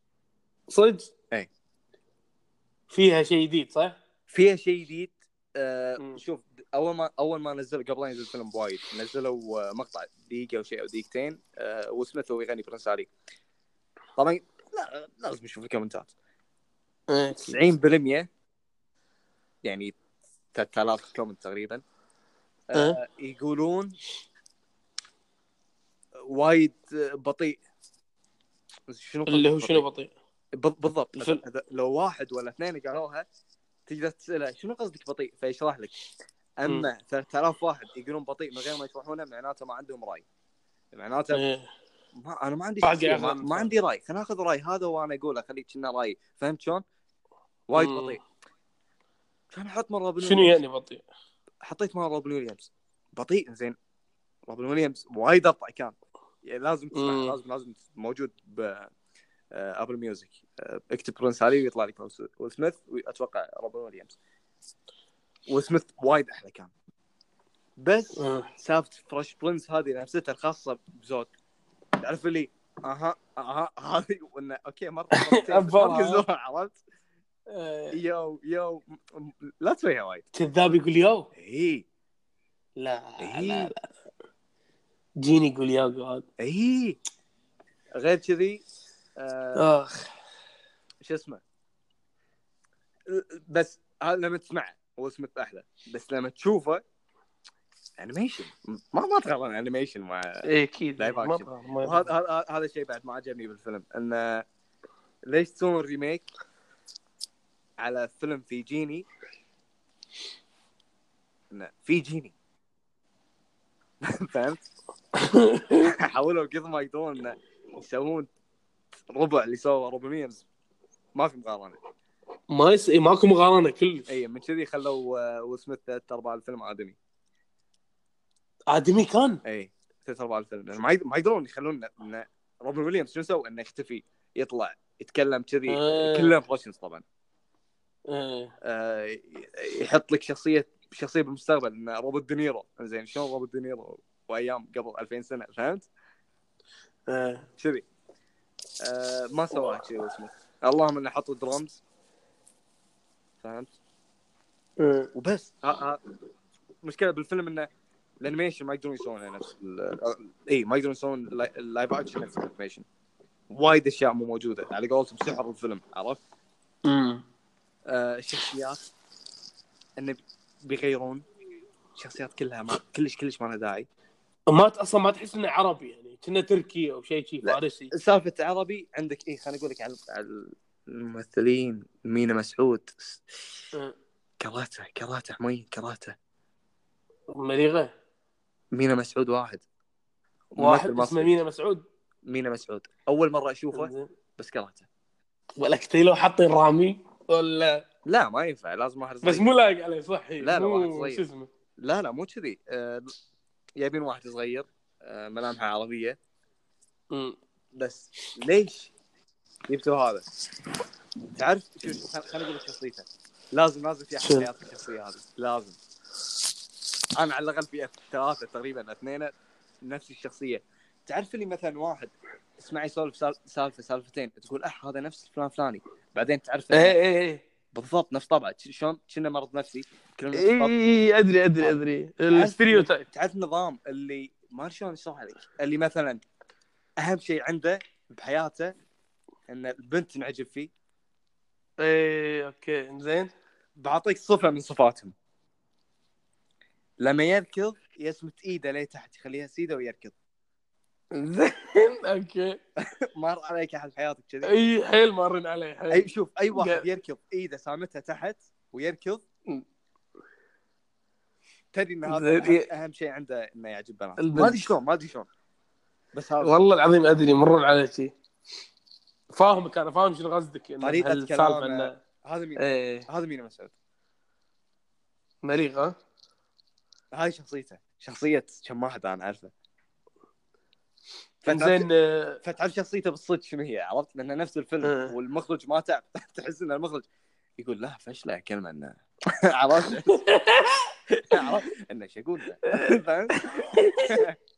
[SPEAKER 1] صدق؟
[SPEAKER 2] إي.
[SPEAKER 1] فيها شيء جديد صح؟
[SPEAKER 2] فيها شيء جديد آه،
[SPEAKER 1] مم.
[SPEAKER 2] شوف اول ما اول ما نزلوا قبل لا ينزل الفيلم بوايد نزلوا آه، مقطع دقيقه او شيء او دقيقتين آه، ويل سميث وهو يغني برنس علي طبعا لا لازم نشوف الكومنتات
[SPEAKER 1] إي.
[SPEAKER 2] إيه. 90% يعني 3000 كومنت تقريبا آه يقولون وايد آه، بطيء شنو
[SPEAKER 1] اللي هو
[SPEAKER 2] بطيء؟
[SPEAKER 1] شنو بطيء؟
[SPEAKER 2] ب- بالضبط
[SPEAKER 1] الفيلم.
[SPEAKER 2] هذا لو واحد ولا اثنين قالوها تقدر تساله شنو قصدك بطيء فيشرح لك اما 3000 واحد يقولون بطيء من غير ما يشرحونه معناته ما عندهم راي معناته
[SPEAKER 1] إي.
[SPEAKER 2] ما انا ما عندي
[SPEAKER 1] باقي
[SPEAKER 2] شخصية،
[SPEAKER 1] آخر
[SPEAKER 2] ما,
[SPEAKER 1] المثال.
[SPEAKER 2] ما عندي راي خلينا ناخذ راي هذا وانا اقوله خليك كنا راي فهمت شلون؟ وايد
[SPEAKER 1] مم.
[SPEAKER 2] بطيء كان احط مره روبن
[SPEAKER 1] شنو يعني بطيء؟
[SPEAKER 2] حطيت مره روبن ويليامز بطيء زين روبن ويليامز وايد ابطا كان يعني لازم تسمع
[SPEAKER 1] مم.
[SPEAKER 2] لازم لازم موجود ب آه، ابل ميوزك آه، اكتب برنس علي ويطلع لك ويل سميث واتوقع روبن ويليامز ويل سميث وايد احلى كان بس
[SPEAKER 1] آه.
[SPEAKER 2] سالفه فريش برنس هذه نفسها الخاصه بزود تعرف اللي اها اها هذه وانه اوكي مره مرتين، بس ما
[SPEAKER 1] أبرها.
[SPEAKER 2] تقزوها، عرفت؟
[SPEAKER 1] إي.
[SPEAKER 2] يو يو م- م- لا تسويها وايد إيه،
[SPEAKER 1] كذاب يقول ياو
[SPEAKER 2] اي
[SPEAKER 1] لا لا
[SPEAKER 2] اي
[SPEAKER 1] لا جيني يقول ياو قاعد
[SPEAKER 2] اي إيه. غير كذي آه،
[SPEAKER 1] اخ
[SPEAKER 2] شو اسمه بس هذا لما تسمعه هو اسمه احلى بس لما تشوفه انيميشن ما ما تقارن انيميشن مع
[SPEAKER 1] اي اكيد
[SPEAKER 2] لايف
[SPEAKER 1] ما
[SPEAKER 2] أكشن.
[SPEAKER 1] أبغى- ما
[SPEAKER 2] وهذا
[SPEAKER 1] أبغى.
[SPEAKER 2] هذا- هذا الشيء بعد ما عجبني بالفيلم انه ليش تسوون ريميك على فيلم في جيني انه في جيني فهمت؟ حاولوا قد ما يقدرون انه يسوون ربع اللي سووا روبن ويليامز ما في مقارنه
[SPEAKER 1] ما يس... إي، ماكو مقارنه كلش
[SPEAKER 2] اي من كذي خلوا آه، ويل سميث ثلاث ارباع الفيلم ادمي
[SPEAKER 1] ادمي كان
[SPEAKER 2] اي ثلاث ارباع الفيلم لأن ما يد- ما يقدرون يخلون إن روبن ويليامز شنو سوى انه يختفي يطلع يتكلم كذي
[SPEAKER 1] آه.
[SPEAKER 2] كله امبرشنز طبعا
[SPEAKER 1] إي.
[SPEAKER 2] آه، يحط لك شخصيه شخصيه بالمستقبل انه روبوت دينيرو زين شلون روبوت دينيرو وايام قبل 2000 سنه فهمت؟
[SPEAKER 1] آه.
[SPEAKER 2] كذي آه ما سواها كذي اسمه اللهم انه حطوا درمز فهمت؟
[SPEAKER 1] آه.
[SPEAKER 2] وبس ها ها مشكله بالفيلم انه الانيميشن ما يقدرون يسوونها نفس ال- اي ما يقدرون يسوون اللاي- اللايف اكشن نفس الانيميشن وايد اشياء مو موجوده على قولتهم سحر الفيلم عرفت؟ آه، الشخصيات انه بيغيرون الشخصيات كلها ما كلش كلش ما لها داعي
[SPEAKER 1] ما ت- اصلا ما تحس انه عربي يعني كنا تركي او شيء شيء
[SPEAKER 2] لا.
[SPEAKER 1] فارسي
[SPEAKER 2] سالفه عربي عندك ايه خليني اقول لك على على الممثلين مينا مسعود
[SPEAKER 1] آه.
[SPEAKER 2] كراته كراته حمين كراته
[SPEAKER 1] مليغه
[SPEAKER 2] مينا مسعود واحد
[SPEAKER 1] واحد
[SPEAKER 2] ممثل
[SPEAKER 1] اسمه
[SPEAKER 2] مصري.
[SPEAKER 1] مينا مسعود
[SPEAKER 2] مينا مسعود اول مره اشوفه
[SPEAKER 1] إنزين.
[SPEAKER 2] بس كراته
[SPEAKER 1] ولا كتيلو حاطين رامي ولا
[SPEAKER 2] لا ما ينفع لازم واحد صغير
[SPEAKER 1] بس مو لايق عليه صحي
[SPEAKER 2] لا، لا،
[SPEAKER 1] مو-
[SPEAKER 2] واحد صغير.
[SPEAKER 1] شو اسمه
[SPEAKER 2] لا لا مو كذي آه، يبين واحد صغير آه، ملامحه عربيه
[SPEAKER 1] مم.
[SPEAKER 2] بس ليش جبتوا هذا؟ تعرف شو شو- خل- خليني اقول لك شخصيته لازم لازم في احد
[SPEAKER 1] شنو؟
[SPEAKER 2] في حياتك الشخصيه هذه لازم انا على الاقل في ثلاثه تقريبا اثنين نفس الشخصيه تعرف لي مثلا واحد اسمعي سولف سال- سالفه سالفتين تقول اح هذا نفس فلان فلاني بعدين تعرف
[SPEAKER 1] ايه ايه ايه
[SPEAKER 2] بالضبط نفس طبعه ش- شلون كنا مرض نفسي كلنا نفس
[SPEAKER 1] إي-
[SPEAKER 2] الطبع.
[SPEAKER 1] إي- ادري ادري ادري الستيريوتايب
[SPEAKER 2] تعرف نظام اللي ما أدري شلون اشرح لك اللي مثلا اهم شيء عنده بحياته ان البنت تنعجب فيه
[SPEAKER 1] ايه اوكي زين
[SPEAKER 2] بعطيك صفه من صفاتهم لما يركض يسمت ايده لتحت يخليها سيده ويركض
[SPEAKER 1] زين اوكي
[SPEAKER 2] مر عليك احد في حياتك كذي
[SPEAKER 1] اي حيل مارين عليه حيل
[SPEAKER 2] اي شوف اي واحد
[SPEAKER 1] قا-
[SPEAKER 2] يركض ايده سامتها تحت ويركض
[SPEAKER 1] م.
[SPEAKER 2] تدري ان هذا
[SPEAKER 1] زين،
[SPEAKER 2] أهم- اهم شيء عنده انه يعجب بنات
[SPEAKER 1] البنت.
[SPEAKER 2] ما ادري شلون ما ادري شلون بس هذا
[SPEAKER 1] والله العظيم ادري مرون على شيء فاهمك انا فاهم شنو قصدك إن
[SPEAKER 2] طريقة
[SPEAKER 1] هالسالفة
[SPEAKER 2] كلامه.
[SPEAKER 1] إنه-
[SPEAKER 2] هذا مين
[SPEAKER 1] ايه
[SPEAKER 2] هذا مين مسعود
[SPEAKER 1] مريغ ها
[SPEAKER 2] هاي شخصيته شخصيه كم واحد انا اعرفه فتعرف-
[SPEAKER 1] زين آه،
[SPEAKER 2] فتعرف شخصيته بالصدق شنو هي عرفت لانه نفس الفيلم
[SPEAKER 1] أه.
[SPEAKER 2] والمخرج ما تعب تحس ان المخرج يقول لا فشله كلمه انه عرفت عرفت انه شو اقول له؟ فهمت؟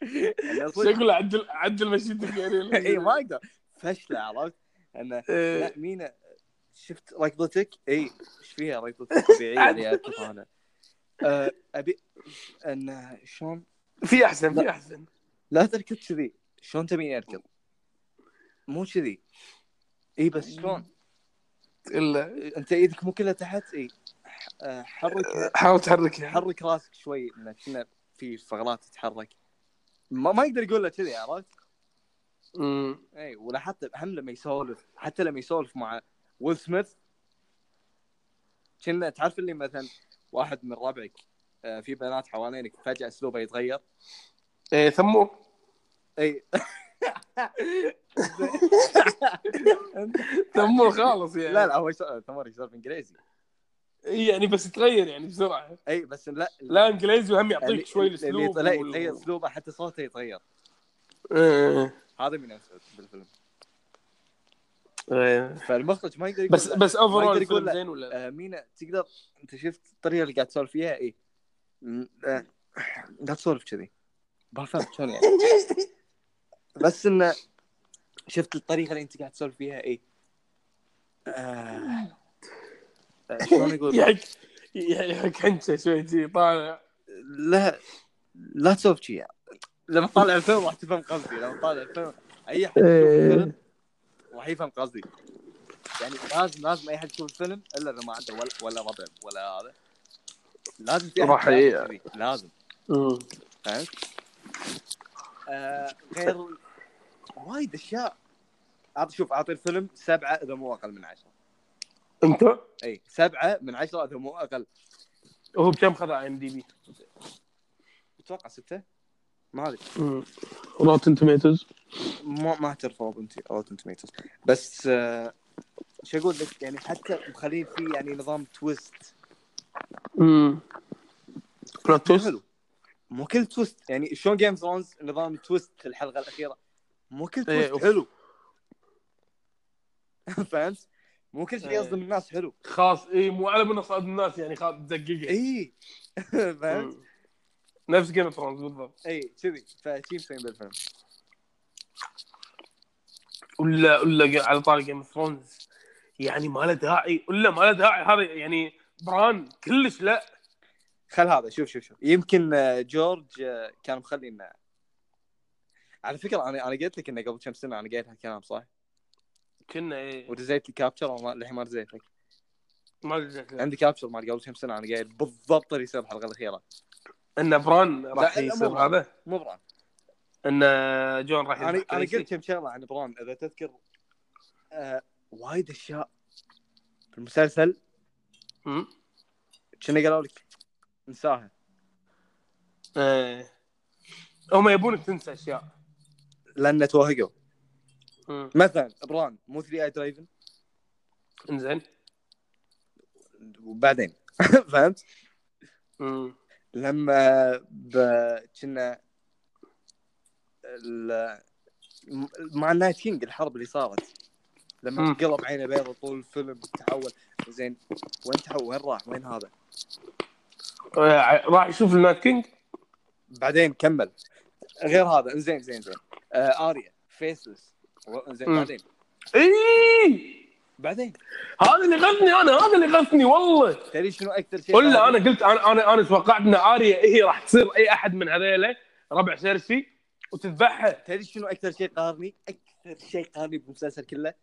[SPEAKER 2] إنه
[SPEAKER 1] شو
[SPEAKER 2] صدق.
[SPEAKER 1] اقول عدل عدل مشيتك يعني
[SPEAKER 2] اي إيه، ما اقدر فشله عرفت؟ انه
[SPEAKER 1] إيه.
[SPEAKER 2] لا مينا شفت ركضتك؟ اي ايش فيها ركضتك طبيعيه اللي اركض انا أه، ابي انه شلون
[SPEAKER 1] في احسن في احسن
[SPEAKER 2] لا تركض كذي شلون تبيني اركض؟ مو كذي اي بس شلون؟
[SPEAKER 1] الا
[SPEAKER 2] انت ايدك مو كلها تحت اي ح- آه، حرك
[SPEAKER 1] حاول تحركها
[SPEAKER 2] حرك راسك شوي انه كنا في شغلات تتحرك ما, ما يقدر يقول له كذي عرفت؟
[SPEAKER 1] أمم.
[SPEAKER 2] اي ولا حتى هم لما يسولف حتى لما يسولف مع ويل سميث كنا تعرف اللي مثلا واحد من ربعك آه، في بنات حوالينك فجاه اسلوبه يتغير إيه،
[SPEAKER 1] ايه ثمور
[SPEAKER 2] اي
[SPEAKER 1] ثمور خالص يعني
[SPEAKER 2] لا لا هو يسولف تمر يسولف انجليزي
[SPEAKER 1] إيه، يعني بس تغير يعني بسرعه
[SPEAKER 2] اي بس لا
[SPEAKER 1] لا انجليزي وهم يعطيك
[SPEAKER 2] اللي-
[SPEAKER 1] شوي
[SPEAKER 2] يعني اللي
[SPEAKER 1] الاسلوب
[SPEAKER 2] يطلع-
[SPEAKER 1] وال-
[SPEAKER 2] يتغير اسلوبه حتى صوته يتغير
[SPEAKER 1] إيه،
[SPEAKER 2] هذا من اسعد بالفيلم
[SPEAKER 1] إيه.
[SPEAKER 2] فالمخرج ما يقدر يقول
[SPEAKER 1] بس
[SPEAKER 2] لا.
[SPEAKER 1] بس
[SPEAKER 2] ما
[SPEAKER 1] اوفرول
[SPEAKER 2] يقدر يقول
[SPEAKER 1] الفيلم
[SPEAKER 2] لا.
[SPEAKER 1] زين ولا لا؟
[SPEAKER 2] آه مينا تقدر انت شفت الطريقه اللي قاعد تسولف فيها اي م- آه، لا تسولف كذي ما فهمت شلون يعني بس انه شفت الطريقه اللي انت قاعد تسولف فيها اي آه، آه، شلون اقول
[SPEAKER 1] يحك يحك حنشه شوي شي طالع
[SPEAKER 2] لا لا تسولف شي يعني. لما طالع الفيلم راح تفهم قصدي لما طالع الفيلم اي احد يشوف الفيلم راح يفهم قصدي يعني لازم لازم اي حد يشوف الفيلم الا اذا ما عنده ولا ولا ربع ولا هذا لازم في أحد
[SPEAKER 1] راح
[SPEAKER 2] يعرف
[SPEAKER 1] ي-
[SPEAKER 2] كذي. لازم
[SPEAKER 1] أمم.
[SPEAKER 2] فهمت؟ آه غير وايد اشياء اعطي شوف اعطي الفيلم سبعه اذا مو اقل من عشره
[SPEAKER 1] انت
[SPEAKER 2] اي سبعه من عشره اذا مو اقل
[SPEAKER 1] هو بكم خذ اي ام دي بي؟
[SPEAKER 2] اتوقع سته ما ادري
[SPEAKER 1] روتن توميتوز
[SPEAKER 2] ما ما اعترف روتن توميتوز بس آه شو اقول لك يعني حتى مخلين فيه يعني نظام تويست
[SPEAKER 1] بلوت
[SPEAKER 2] حلو مو كل تويست يعني شلون جيم ثرونز نظام تويست في الحلقه الاخيره مو كل
[SPEAKER 1] إيه،
[SPEAKER 2] تويست
[SPEAKER 1] أوف.
[SPEAKER 2] حلو فهمت؟ مو كل شيء
[SPEAKER 1] إيه.
[SPEAKER 2] يصدم الناس حلو
[SPEAKER 1] خاص اي مو على منصه الناس يعني خاص تدققها
[SPEAKER 2] اي إيه. فهمت؟
[SPEAKER 1] نفس جيم اوف ثرونز بالضبط
[SPEAKER 2] اي كذي فشي مسويين بالفيلم
[SPEAKER 1] ولا ولا على طاري جيم اوف ثرونز يعني ما له داعي ولا ما له داعي هذا يعني بران كلش لا
[SPEAKER 2] خل هذا شوف شوف شوف يمكن آه، جورج آه، كان مخلي انه على فكره انا انا قلت لك انه قبل كم سنه انا قايل هالكلام صح؟
[SPEAKER 1] كنا ايه
[SPEAKER 2] ورزيت لي كابتشر وما- للحين ما رزيت لك
[SPEAKER 1] ما أدري.
[SPEAKER 2] عندي كابتشر مال قبل كم سنه انا قايل بالضبط اللي يصير الحلقه الاخيره
[SPEAKER 1] ان بران راح
[SPEAKER 2] لا، لا،
[SPEAKER 1] يصير
[SPEAKER 2] مو-
[SPEAKER 1] هذا
[SPEAKER 2] مو بران
[SPEAKER 1] ان جون راح
[SPEAKER 2] انا
[SPEAKER 1] يذبح
[SPEAKER 2] انا
[SPEAKER 1] كريسي.
[SPEAKER 2] قلت كم شغله عن بران اذا تذكر آه وايد اشياء في المسلسل
[SPEAKER 1] أمم.
[SPEAKER 2] كنا قالوا لك انساها
[SPEAKER 1] إيه. هم يبونك تنسى اشياء
[SPEAKER 2] لان توهقوا
[SPEAKER 1] أمم.
[SPEAKER 2] مثلا بران مو 3 اي درايفن
[SPEAKER 1] انزين
[SPEAKER 2] وبعدين فهمت؟
[SPEAKER 1] أمم.
[SPEAKER 2] لما ب... كنا ال... مع النايت كينج الحرب اللي صارت
[SPEAKER 1] مم.
[SPEAKER 2] لما قلب عينه بيضة طول الفيلم تحول زين وين تحول وين راح وين هذا
[SPEAKER 1] إيه، ع- راح يشوف النايت كينج
[SPEAKER 2] بعدين كمل غير هذا زين زين زين آه اريا فيسلس زين
[SPEAKER 1] مم.
[SPEAKER 2] بعدين
[SPEAKER 1] اي
[SPEAKER 2] بعدين
[SPEAKER 1] هذا اللي غثني انا هذا اللي غثني والله
[SPEAKER 2] تدري شنو اكثر شيء
[SPEAKER 1] ولا انا قلت انا انا انا توقعت ان اريا هي راح تصير اي احد من هذيله ربع سيرسي وتذبحها
[SPEAKER 2] تدري شنو اكثر شيء قارني اكثر شيء قارني بالمسلسل كله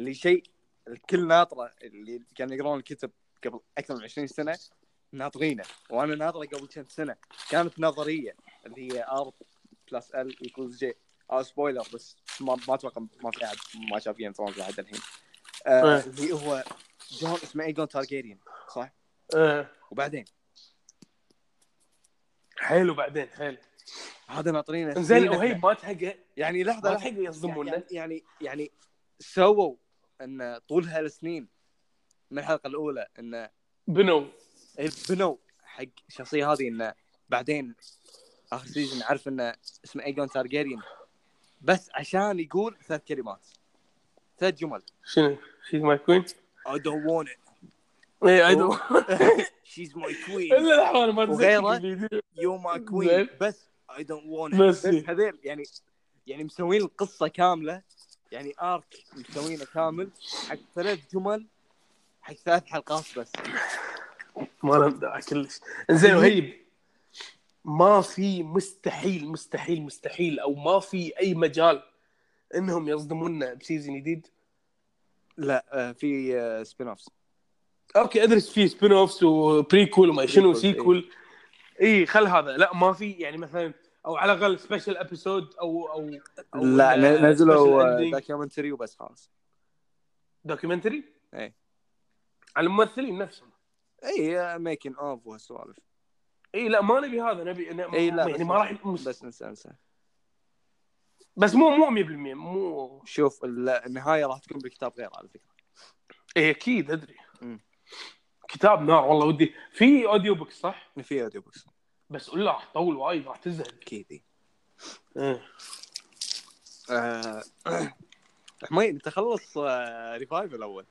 [SPEAKER 2] اللي شيء الكل ناطره اللي كانوا يقرون الكتب قبل اكثر من 20 سنه ناطرينه وانا ناطره قبل كم سنه كانت نظريه اللي هي ار بلس ال ايكولز جي اه سبويلر بس ما ما اتوقع ما في احد ما شاف جيم ثرونز لحد الحين آه
[SPEAKER 1] إيه.
[SPEAKER 2] اللي هو جون اسمه ايجون تارجيريان صح
[SPEAKER 1] إيه.
[SPEAKER 2] وبعدين
[SPEAKER 1] حلو بعدين حلو
[SPEAKER 2] هذا ناطرينه
[SPEAKER 1] زين
[SPEAKER 2] سنين
[SPEAKER 1] وهيب ما تحقق
[SPEAKER 2] يعني لحظه
[SPEAKER 1] ما
[SPEAKER 2] لحظه
[SPEAKER 1] تحقق يصدمونا
[SPEAKER 2] يعني يعني يعني سووا ان طول هالسنين من الحلقه الاولى ان
[SPEAKER 1] بنو
[SPEAKER 2] بنوا إيه، حق الشخصيه هذه انه بعدين اخر سيزون عرف انه اسمه ايجون تارجيريان بس عشان يقول ثلاث كلمات ثلاث جمل
[SPEAKER 1] شنو شيز ماي كوين
[SPEAKER 2] I don't want it
[SPEAKER 1] اي اي دو
[SPEAKER 2] she's my queen
[SPEAKER 1] الا لحظه انا ما
[SPEAKER 2] وغيره.
[SPEAKER 1] تذكر
[SPEAKER 2] you're my
[SPEAKER 1] زين.
[SPEAKER 2] queen بس I don't want it
[SPEAKER 1] بس.
[SPEAKER 2] بس هذيل يعني يعني مسوين القصه كامله يعني ارك مسوينه كامل حق ثلاث جمل حق ثلاث حلقات بس
[SPEAKER 1] ما لهم داعي كلش زين وهيب ما في مستحيل مستحيل مستحيل او ما في اي مجال انهم يصدمونا بسيزون جديد
[SPEAKER 2] لا آه، في سبين اوفز
[SPEAKER 1] اوكي ادرس فيه سبين اوفس وبريكول وما شنو
[SPEAKER 2] Prequels، إيه.
[SPEAKER 1] سيكول اي خل هذا لا ما في يعني مثلا او على الاقل سبيشل ابيسود او او أو
[SPEAKER 2] لا
[SPEAKER 1] إنه special
[SPEAKER 2] نزلوا آه،
[SPEAKER 1] ending.
[SPEAKER 2] دوكيومنتري وبس خلاص
[SPEAKER 1] دوكيومنتري
[SPEAKER 2] إيه.
[SPEAKER 1] على الممثلين نفسهم
[SPEAKER 2] اي ميكن اوف وهالسوالف
[SPEAKER 1] اي لا ما نبي هذا نبي ن-
[SPEAKER 2] اي لا
[SPEAKER 1] يعني
[SPEAKER 2] بس-
[SPEAKER 1] ما راح مس... بس,
[SPEAKER 2] بس انسى انسى
[SPEAKER 1] بس مو مو 100% مو
[SPEAKER 2] شوف ال- النهايه راح تكون بكتاب غير على فكره
[SPEAKER 1] اي اكيد ادري
[SPEAKER 2] مم.
[SPEAKER 1] كتاب نار والله ودي في اوديو بوك صح
[SPEAKER 2] في اوديو بوكس
[SPEAKER 1] بس ولا راح تطول وايد راح تزهق
[SPEAKER 2] اكيد
[SPEAKER 1] إيه.
[SPEAKER 2] آه، حمين انت خلص آه، ريفايف الاول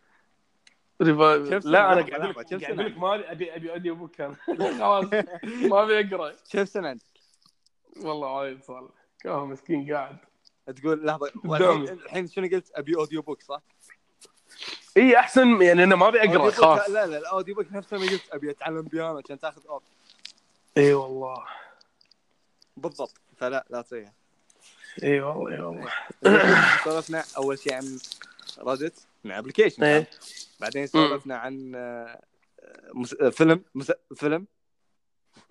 [SPEAKER 2] كم سنة
[SPEAKER 1] لا انا
[SPEAKER 2] راح
[SPEAKER 1] قاعد أقول لك-
[SPEAKER 2] ألعبها؟ كم
[SPEAKER 1] قاعد
[SPEAKER 2] سنة؟
[SPEAKER 1] اقول لك ما أبي- ابي ابي اوديو بوك انا خلاص ما ابي اقرا
[SPEAKER 2] كم سنه انت؟
[SPEAKER 1] والله وايد صار كاه مسكين قاعد
[SPEAKER 2] تقول لحظه
[SPEAKER 1] قدامي.
[SPEAKER 2] والحين- الحين شنو قلت ابي اوديو بوك صح؟
[SPEAKER 1] اي احسن يعني انا ما ابي
[SPEAKER 2] أوديو
[SPEAKER 1] اقرا
[SPEAKER 2] بوك-
[SPEAKER 1] خلاص
[SPEAKER 2] لا لا الاوديو بوك نفسه ما قلت ابي اتعلم بيانو عشان تاخذ اوف
[SPEAKER 1] اي والله
[SPEAKER 2] بالضبط فلا لا تسويها
[SPEAKER 1] اي والله اي والله
[SPEAKER 2] سولفنا اول شيء عن ريدت من ابلكيشن
[SPEAKER 1] إيه.
[SPEAKER 2] بعدين سولفنا عن آه، مس- آه، فيلم مس- فيلم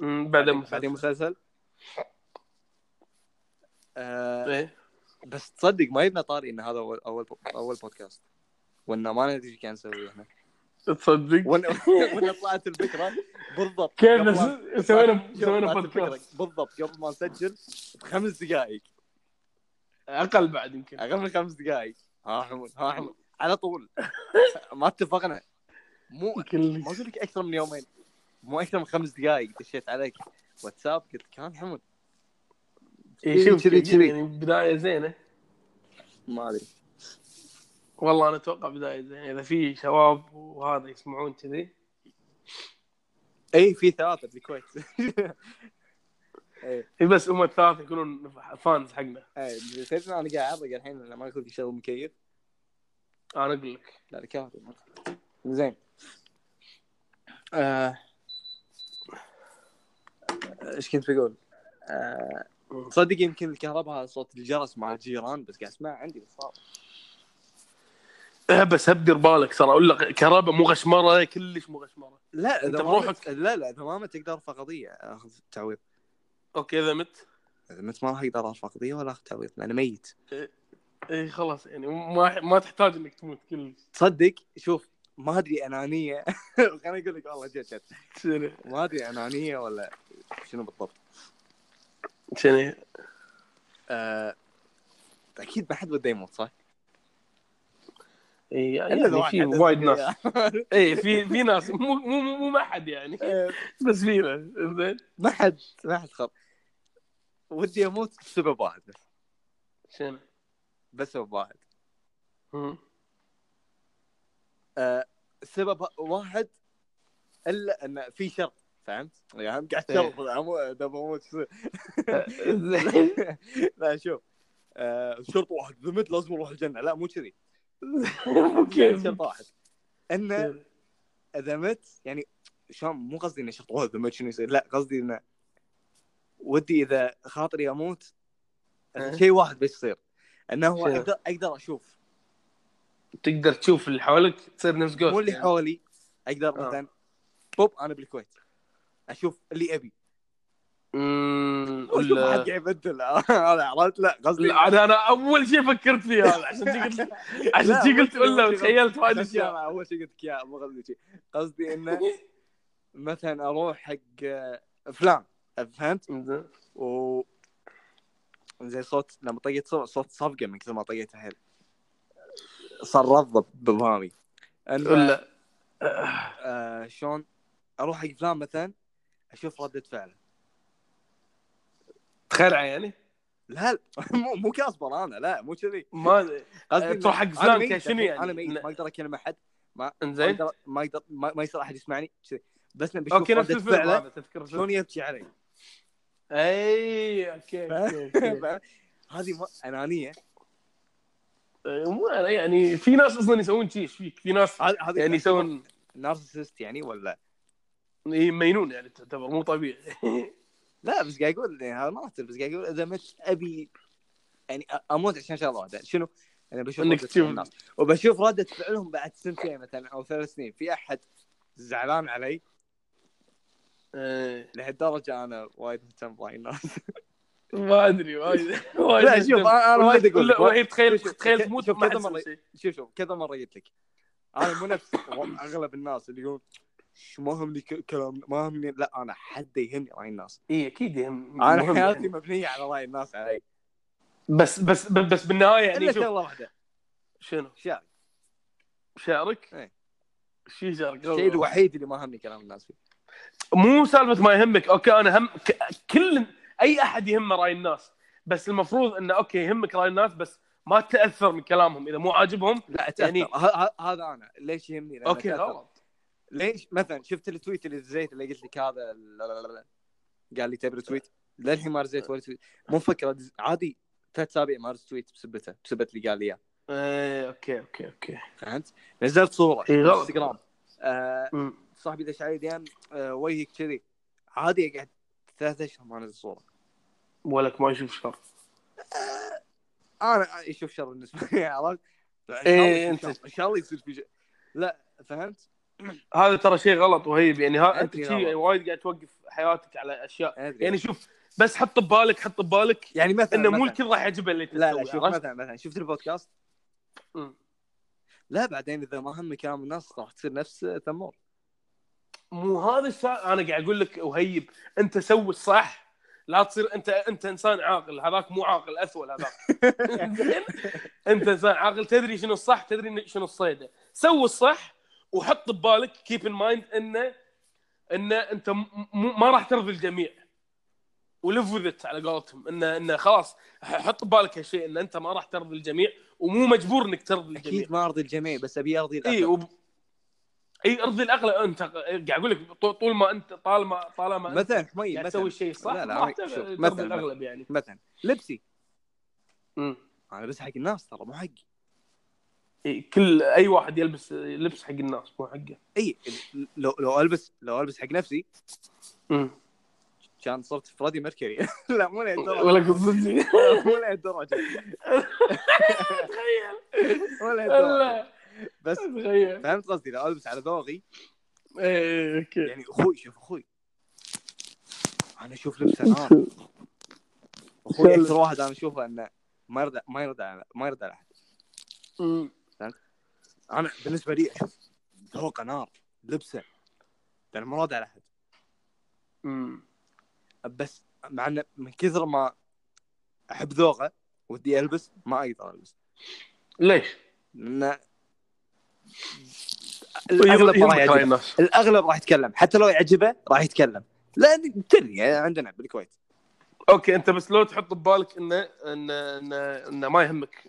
[SPEAKER 1] أمم، بعدين
[SPEAKER 2] بعدين
[SPEAKER 1] مسلسل.
[SPEAKER 2] مسلسل آه
[SPEAKER 1] إيه.
[SPEAKER 2] بس تصدق ما يبنى طاري ان هذا اول اول اول بودكاست وانه ما ندري ايش كان نسوي احنا
[SPEAKER 1] تصدق
[SPEAKER 2] وإن- وإن طلعت الفكره بالضبط
[SPEAKER 1] كيف
[SPEAKER 2] قبل-
[SPEAKER 1] نس- سوينا
[SPEAKER 2] قبل-
[SPEAKER 1] سوينا
[SPEAKER 2] طلعت الفكرة
[SPEAKER 1] بودكاست
[SPEAKER 2] بالضبط قبل ما نسجل بخمس دقائق
[SPEAKER 1] اقل بعد يمكن
[SPEAKER 2] اقل من خمس دقائق ها حمود ها حمود
[SPEAKER 1] يعني-
[SPEAKER 2] على طول ما اتفقنا مو
[SPEAKER 1] كلش
[SPEAKER 2] ما اقول لك اكثر من يومين مو اكثر من خمس دقائق دشيت عليك واتساب قلت كان حمود
[SPEAKER 1] إي، شوف
[SPEAKER 2] كذي- كذي.
[SPEAKER 1] يعني بدايه زينه
[SPEAKER 2] ما ادري
[SPEAKER 1] والله انا اتوقع بدايه زينه اذا في شباب وهذا يسمعون كذي
[SPEAKER 2] اي إيه، في إيه، ثلاثه بالكويت اي
[SPEAKER 1] إي بس هم الثلاثه يكونون فانز حقنا
[SPEAKER 2] اي تدري انا قاعد اعرق الحين لما اقول لك شغل مكيف
[SPEAKER 1] انا اقول لك
[SPEAKER 2] لا لا كهرباء ما في. زين آه، ايش كنت بقول؟ آه، تصدق يمكن الكهرباء هذا صوت الجرس مع الجيران بس قاعد اسمعه عندي بالصالة
[SPEAKER 1] أه بس هدر بالك ترى اقول لك كهرباء مو غشمره كلش مو غشمره
[SPEAKER 2] لا
[SPEAKER 1] أنت
[SPEAKER 2] اذا ما
[SPEAKER 1] بروحك؟
[SPEAKER 2] مت- لا لا اذا ما مت اقدر ارفع قضيه اخذ تعويض
[SPEAKER 1] اوكي اذا مت
[SPEAKER 2] اذا مت ما راح اقدر ارفع قضيه ولا اخذ تعويض لانه ميت
[SPEAKER 1] اي خلاص يعني ما ما تحتاج انك تموت كلش
[SPEAKER 2] تصدق شوف ما ادري انانيه خليني اقول لك والله جد جد
[SPEAKER 1] شنو
[SPEAKER 2] ما ادري انانيه ولا شنو بالضبط
[SPEAKER 1] شنو
[SPEAKER 2] آه، اكيد ما حد بده يموت صح؟
[SPEAKER 1] اي إيه، يعني في وايد ناس اي في في ناس مو مو مو مو ما حد يعني
[SPEAKER 2] آه،
[SPEAKER 1] بس في ناس زين
[SPEAKER 2] ما حد ما حد خط ودي اموت بسبب واحد بس
[SPEAKER 1] شنو
[SPEAKER 2] بس سبب واحد
[SPEAKER 1] مم.
[SPEAKER 2] آه، سبب واحد الا ان في شرط فهمت؟ يعني قاعد
[SPEAKER 1] إيه.
[SPEAKER 2] شرط عمو- ده بموت لا شوف آه، شرط واحد اذا مت لازم اروح الجنه لا مو كذي
[SPEAKER 1] اوكي
[SPEAKER 2] شرط واحد انه اذا مت يعني شلون مو قصدي انه شرط والله اذا مت شنو يصير لا قصدي انه ودي اذا خاطري اموت
[SPEAKER 1] أه.
[SPEAKER 2] شيء واحد بس يصير انه هو
[SPEAKER 1] شنو؟
[SPEAKER 2] اقدر اقدر اشوف
[SPEAKER 1] تقدر تشوف اللي حولك تصير نفس جوست
[SPEAKER 2] مو اللي
[SPEAKER 1] يعني.
[SPEAKER 2] حولي اقدر
[SPEAKER 1] آه.
[SPEAKER 2] مثلا بوب انا بالكويت اشوف اللي ابي
[SPEAKER 1] مم،
[SPEAKER 2] واشوف
[SPEAKER 1] ولا-
[SPEAKER 2] حد قاعد يبدل هذا عرفت لا قصدي
[SPEAKER 1] لا، انا انا اول شيء فكرت فيه هذا عشان شي قلت عشان
[SPEAKER 2] لا،
[SPEAKER 1] شي قلت
[SPEAKER 2] أول شي-
[SPEAKER 1] ولا
[SPEAKER 2] أول شي-
[SPEAKER 1] تخيلت وايد
[SPEAKER 2] عشان شي
[SPEAKER 1] اشياء
[SPEAKER 2] أنا اول شيء قلت لك اياه مو قصدي شيء قصدي انه مثلا اروح حق آه، فلان فهمت؟ و زي صوت لما طقيت صو- صوت صفقه من كثر ما طقيتها حيل صار رضب بابهامي انه
[SPEAKER 1] ولا
[SPEAKER 2] آه شلون اروح حق فلان مثلا اشوف رده فعله
[SPEAKER 1] تخرع يعني
[SPEAKER 2] لا لا، مو مو كاسبر انا لا مو كذي
[SPEAKER 1] ما
[SPEAKER 2] قصدي إن
[SPEAKER 1] آه، تروح حق
[SPEAKER 2] أنا
[SPEAKER 1] فلان
[SPEAKER 2] ميت،
[SPEAKER 1] كشنو يعني؟
[SPEAKER 2] انا ميت
[SPEAKER 1] إن-
[SPEAKER 2] ما اقدر اكلم احد ما
[SPEAKER 1] انزين
[SPEAKER 2] اقدر ما اقدر ما ما يصير احد يسمعني كذي. بس انا بشوف
[SPEAKER 1] اوكي نفس
[SPEAKER 2] رده
[SPEAKER 1] الفيلم
[SPEAKER 2] فعله
[SPEAKER 1] هذا تذكر
[SPEAKER 2] شلون يبكي علي
[SPEAKER 1] اي اوكي إيه، أوكي، أوكي.
[SPEAKER 2] هذه ما- انانيه
[SPEAKER 1] مو أنا يعني في ناس اصلا يسوون شيء ايش فيك؟ في ناس
[SPEAKER 2] هذه هذه
[SPEAKER 1] يعني يسوون
[SPEAKER 2] نارسست يعني ولا
[SPEAKER 1] مينون يعني تعتبر مو طبيعي
[SPEAKER 2] لا بس قاعد اقول يعني هذا ما راح بس قاعد اقول اذا مت ابي يعني أ- اموت عشان شغله واحده شنو؟ انا بشوف
[SPEAKER 1] إنك
[SPEAKER 2] ردة فعل
[SPEAKER 1] تشوف-
[SPEAKER 2] الناس وبشوف رده فعلهم بعد سنتين مثلا او ثلاث سنين في احد زعلان علي
[SPEAKER 1] إيه.
[SPEAKER 2] لهالدرجه انا وايد مهتم بهاي الناس
[SPEAKER 1] ما ادري وايد وايد
[SPEAKER 2] لا شوف انا أنا وايد اقول
[SPEAKER 1] لا
[SPEAKER 2] لك
[SPEAKER 1] وهي تخيل
[SPEAKER 2] شوف-
[SPEAKER 1] تخيل
[SPEAKER 2] شوف-
[SPEAKER 1] تموت
[SPEAKER 2] شوف
[SPEAKER 1] ما
[SPEAKER 2] كذا
[SPEAKER 1] حد
[SPEAKER 2] مرة-
[SPEAKER 1] يسوي شيء.
[SPEAKER 2] شوف شوف كذا مره قلت لك انا مو نفس اغلب الناس اللي يقولون "إيش ما همني ك- كلام ما همني لا انا حد يهمني راي الناس
[SPEAKER 1] اي اكيد يهم
[SPEAKER 2] انا
[SPEAKER 1] إيه، مهم
[SPEAKER 2] حياتي
[SPEAKER 1] يعني.
[SPEAKER 2] مبنيه على راي الناس علي
[SPEAKER 1] بس بس بس بالنهايه
[SPEAKER 2] الا
[SPEAKER 1] يعني شوف
[SPEAKER 2] شغله واحده
[SPEAKER 1] شنو
[SPEAKER 2] شعر
[SPEAKER 1] شعرك؟
[SPEAKER 2] إيه.
[SPEAKER 1] شو شعرك؟
[SPEAKER 2] الشيء الوحيد اللي ما همني كلام الناس فيه
[SPEAKER 1] مو سالفه ما يهمك اوكي انا هم ك... كل اي احد يهمه راي الناس بس المفروض انه اوكي يهمك راي الناس بس ما تاثر من كلامهم اذا مو عاجبهم
[SPEAKER 2] لا اتاثر
[SPEAKER 1] يعني-
[SPEAKER 2] يعني ه- ه- هذا انا ليش يهمني؟ لأن
[SPEAKER 1] اوكي
[SPEAKER 2] أتأثر.
[SPEAKER 1] غلط
[SPEAKER 2] ليش مثلا شفت التويت اللي دزيت اللي قلت لك هذا لا لا لا لا. قال لي تبي تويت للحين ما رزيت ولا تويت مو فكره دز- عادي ثلاث اسابيع ما رزت تويت بسبته بسبت اللي قال لي اياه
[SPEAKER 1] ايه اوكي اوكي اوكي
[SPEAKER 2] فهمت؟ نزلت صوره
[SPEAKER 1] إي غلط.
[SPEAKER 2] انستغرام آه
[SPEAKER 1] أمم.
[SPEAKER 2] صاحبي دش علي ديام آه وجهك كذي عادي اقعد ثلاث اشهر ما انزل صوره
[SPEAKER 1] ولك ما يشوف شر
[SPEAKER 2] انا يشوف شر بالنسبه لي عرفت؟ إن شاء الله
[SPEAKER 1] إيه،
[SPEAKER 2] يصير
[SPEAKER 1] أنت-
[SPEAKER 2] شر. ان شاء الله يصير في شيء لا فهمت؟
[SPEAKER 1] هذا ترى شيء غلط وهيب يعني ها انت
[SPEAKER 2] أدري
[SPEAKER 1] شيء
[SPEAKER 2] غلط.
[SPEAKER 1] وايد قاعد توقف حياتك على اشياء
[SPEAKER 2] أدري.
[SPEAKER 1] يعني شوف بس حط ببالك حط ببالك
[SPEAKER 2] يعني مثلا
[SPEAKER 1] انه مو
[SPEAKER 2] مثلاً-
[SPEAKER 1] الكل راح يعجبه اللي
[SPEAKER 2] لا لا
[SPEAKER 1] تسويه،
[SPEAKER 2] شوف
[SPEAKER 1] عرفت؟
[SPEAKER 2] مثلا مثلا شفت البودكاست
[SPEAKER 1] أمم.
[SPEAKER 2] لا بعدين اذا ما هم كلام الناس راح تصير نفس ثمور
[SPEAKER 1] مو هذا الشيء انا قاعد اقول لك وهيب انت سوي الصح لا تصير انت انت انسان عاقل هذاك مو عاقل اثول هذاك زين؟ انت انسان عاقل تدري شنو الصح تدري إن- شنو الصيده سوي الصح وحط ببالك كيب ان مايند انه انه انت م- م- ما راح ترضي الجميع ولف وذت على قولتهم انه انه خلاص ح- حط ببالك هالشيء ان انت ما راح ترضي الجميع ومو مجبور انك ترضي الجميع
[SPEAKER 2] اكيد ما ارضي الجميع بس ابي ارضي
[SPEAKER 1] اي
[SPEAKER 2] الاغلب
[SPEAKER 1] إيه، وب... إيه، اي ارضي الاغلب انت قاعد اقول لك طو- طول ما انت طالما طالما انت
[SPEAKER 2] مثلا حمي
[SPEAKER 1] قاعد
[SPEAKER 2] مثلا
[SPEAKER 1] يعني تسوي الشيء صح
[SPEAKER 2] لا، لا،
[SPEAKER 1] راح
[SPEAKER 2] عمي،
[SPEAKER 1] تغ-
[SPEAKER 2] شوف،
[SPEAKER 1] ترضي
[SPEAKER 2] مثلاً،
[SPEAKER 1] الاغلب يعني
[SPEAKER 2] مثلا لبسي
[SPEAKER 1] مم.
[SPEAKER 2] انا لبس حق الناس ترى مو حقي
[SPEAKER 1] إي، إيه، كل اي واحد يلبس لبس حق الناس مو حقه
[SPEAKER 2] اي ال- لو لو البس لو البس حق نفسي
[SPEAKER 1] مم.
[SPEAKER 2] كان صرت فريدي ميركوري لا مو لهالدرجه
[SPEAKER 1] ولا قصدي
[SPEAKER 2] مو لهالدرجه
[SPEAKER 1] تخيل
[SPEAKER 2] مو لهالدرجه
[SPEAKER 1] لا
[SPEAKER 2] بس
[SPEAKER 1] تخيل إيه،
[SPEAKER 2] فهمت قصدي لو البس على ذوقي
[SPEAKER 1] إي، اوكي
[SPEAKER 2] يعني اخوي شوف اخوي انا اشوف لبسه نار اخوي اكثر يعني واحد انا اشوفه انه ما يرضى ما يرضى على- ما يرضى على احد
[SPEAKER 1] مم.
[SPEAKER 2] انا بالنسبه لي اشوف ذوقه نار لبسه انا ما راضي على احد
[SPEAKER 1] مم.
[SPEAKER 2] بس مع انه من كثر ما احب ذوقه ودي البس ما اقدر البس
[SPEAKER 1] ليش؟
[SPEAKER 2] لان
[SPEAKER 1] طيب،
[SPEAKER 2] الاغلب ما راح
[SPEAKER 1] يضحك على
[SPEAKER 2] يعجبه
[SPEAKER 1] الناس
[SPEAKER 2] الاغلب راح يتكلم حتى لو يعجبه راح يتكلم لان تدري يعني عندنا بالكويت
[SPEAKER 1] اوكي انت بس لو تحط ببالك انه انه انه إنه ما يهمك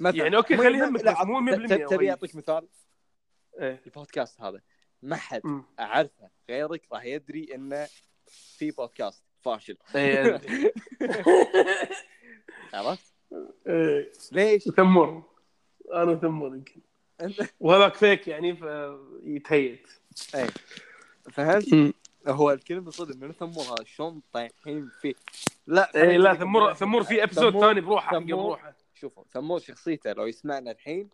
[SPEAKER 2] مثلا
[SPEAKER 1] يعني اوكي
[SPEAKER 2] مو-
[SPEAKER 1] خليه
[SPEAKER 2] مو-
[SPEAKER 1] يهمك
[SPEAKER 2] لا،
[SPEAKER 1] بس مو 100%
[SPEAKER 2] ت- تبي
[SPEAKER 1] أولي.
[SPEAKER 2] اعطيك مثال
[SPEAKER 1] إيه.
[SPEAKER 2] البودكاست هذا ما حد
[SPEAKER 1] مم.
[SPEAKER 2] اعرفه غيرك راح يدري انه في بودكاست فاشل
[SPEAKER 1] إيه.
[SPEAKER 2] عرفت؟
[SPEAKER 1] إيه.
[SPEAKER 2] ليش؟
[SPEAKER 1] ثمور انا ثمور يمكن
[SPEAKER 2] أنت-
[SPEAKER 1] وهذاك فيك يعني فيتهيت
[SPEAKER 2] فهمت؟ هو الكلمه صدق من ثمور هذا شلون طايحين فيه لا
[SPEAKER 1] اي إيه، لا
[SPEAKER 2] خليني-
[SPEAKER 1] ثمور ثمور في ابسود
[SPEAKER 2] ثمور-
[SPEAKER 1] ثاني بروحه حق
[SPEAKER 2] ثمور.
[SPEAKER 1] بروحه
[SPEAKER 2] شوفوا ثمور شخصيته لو يسمعنا الحين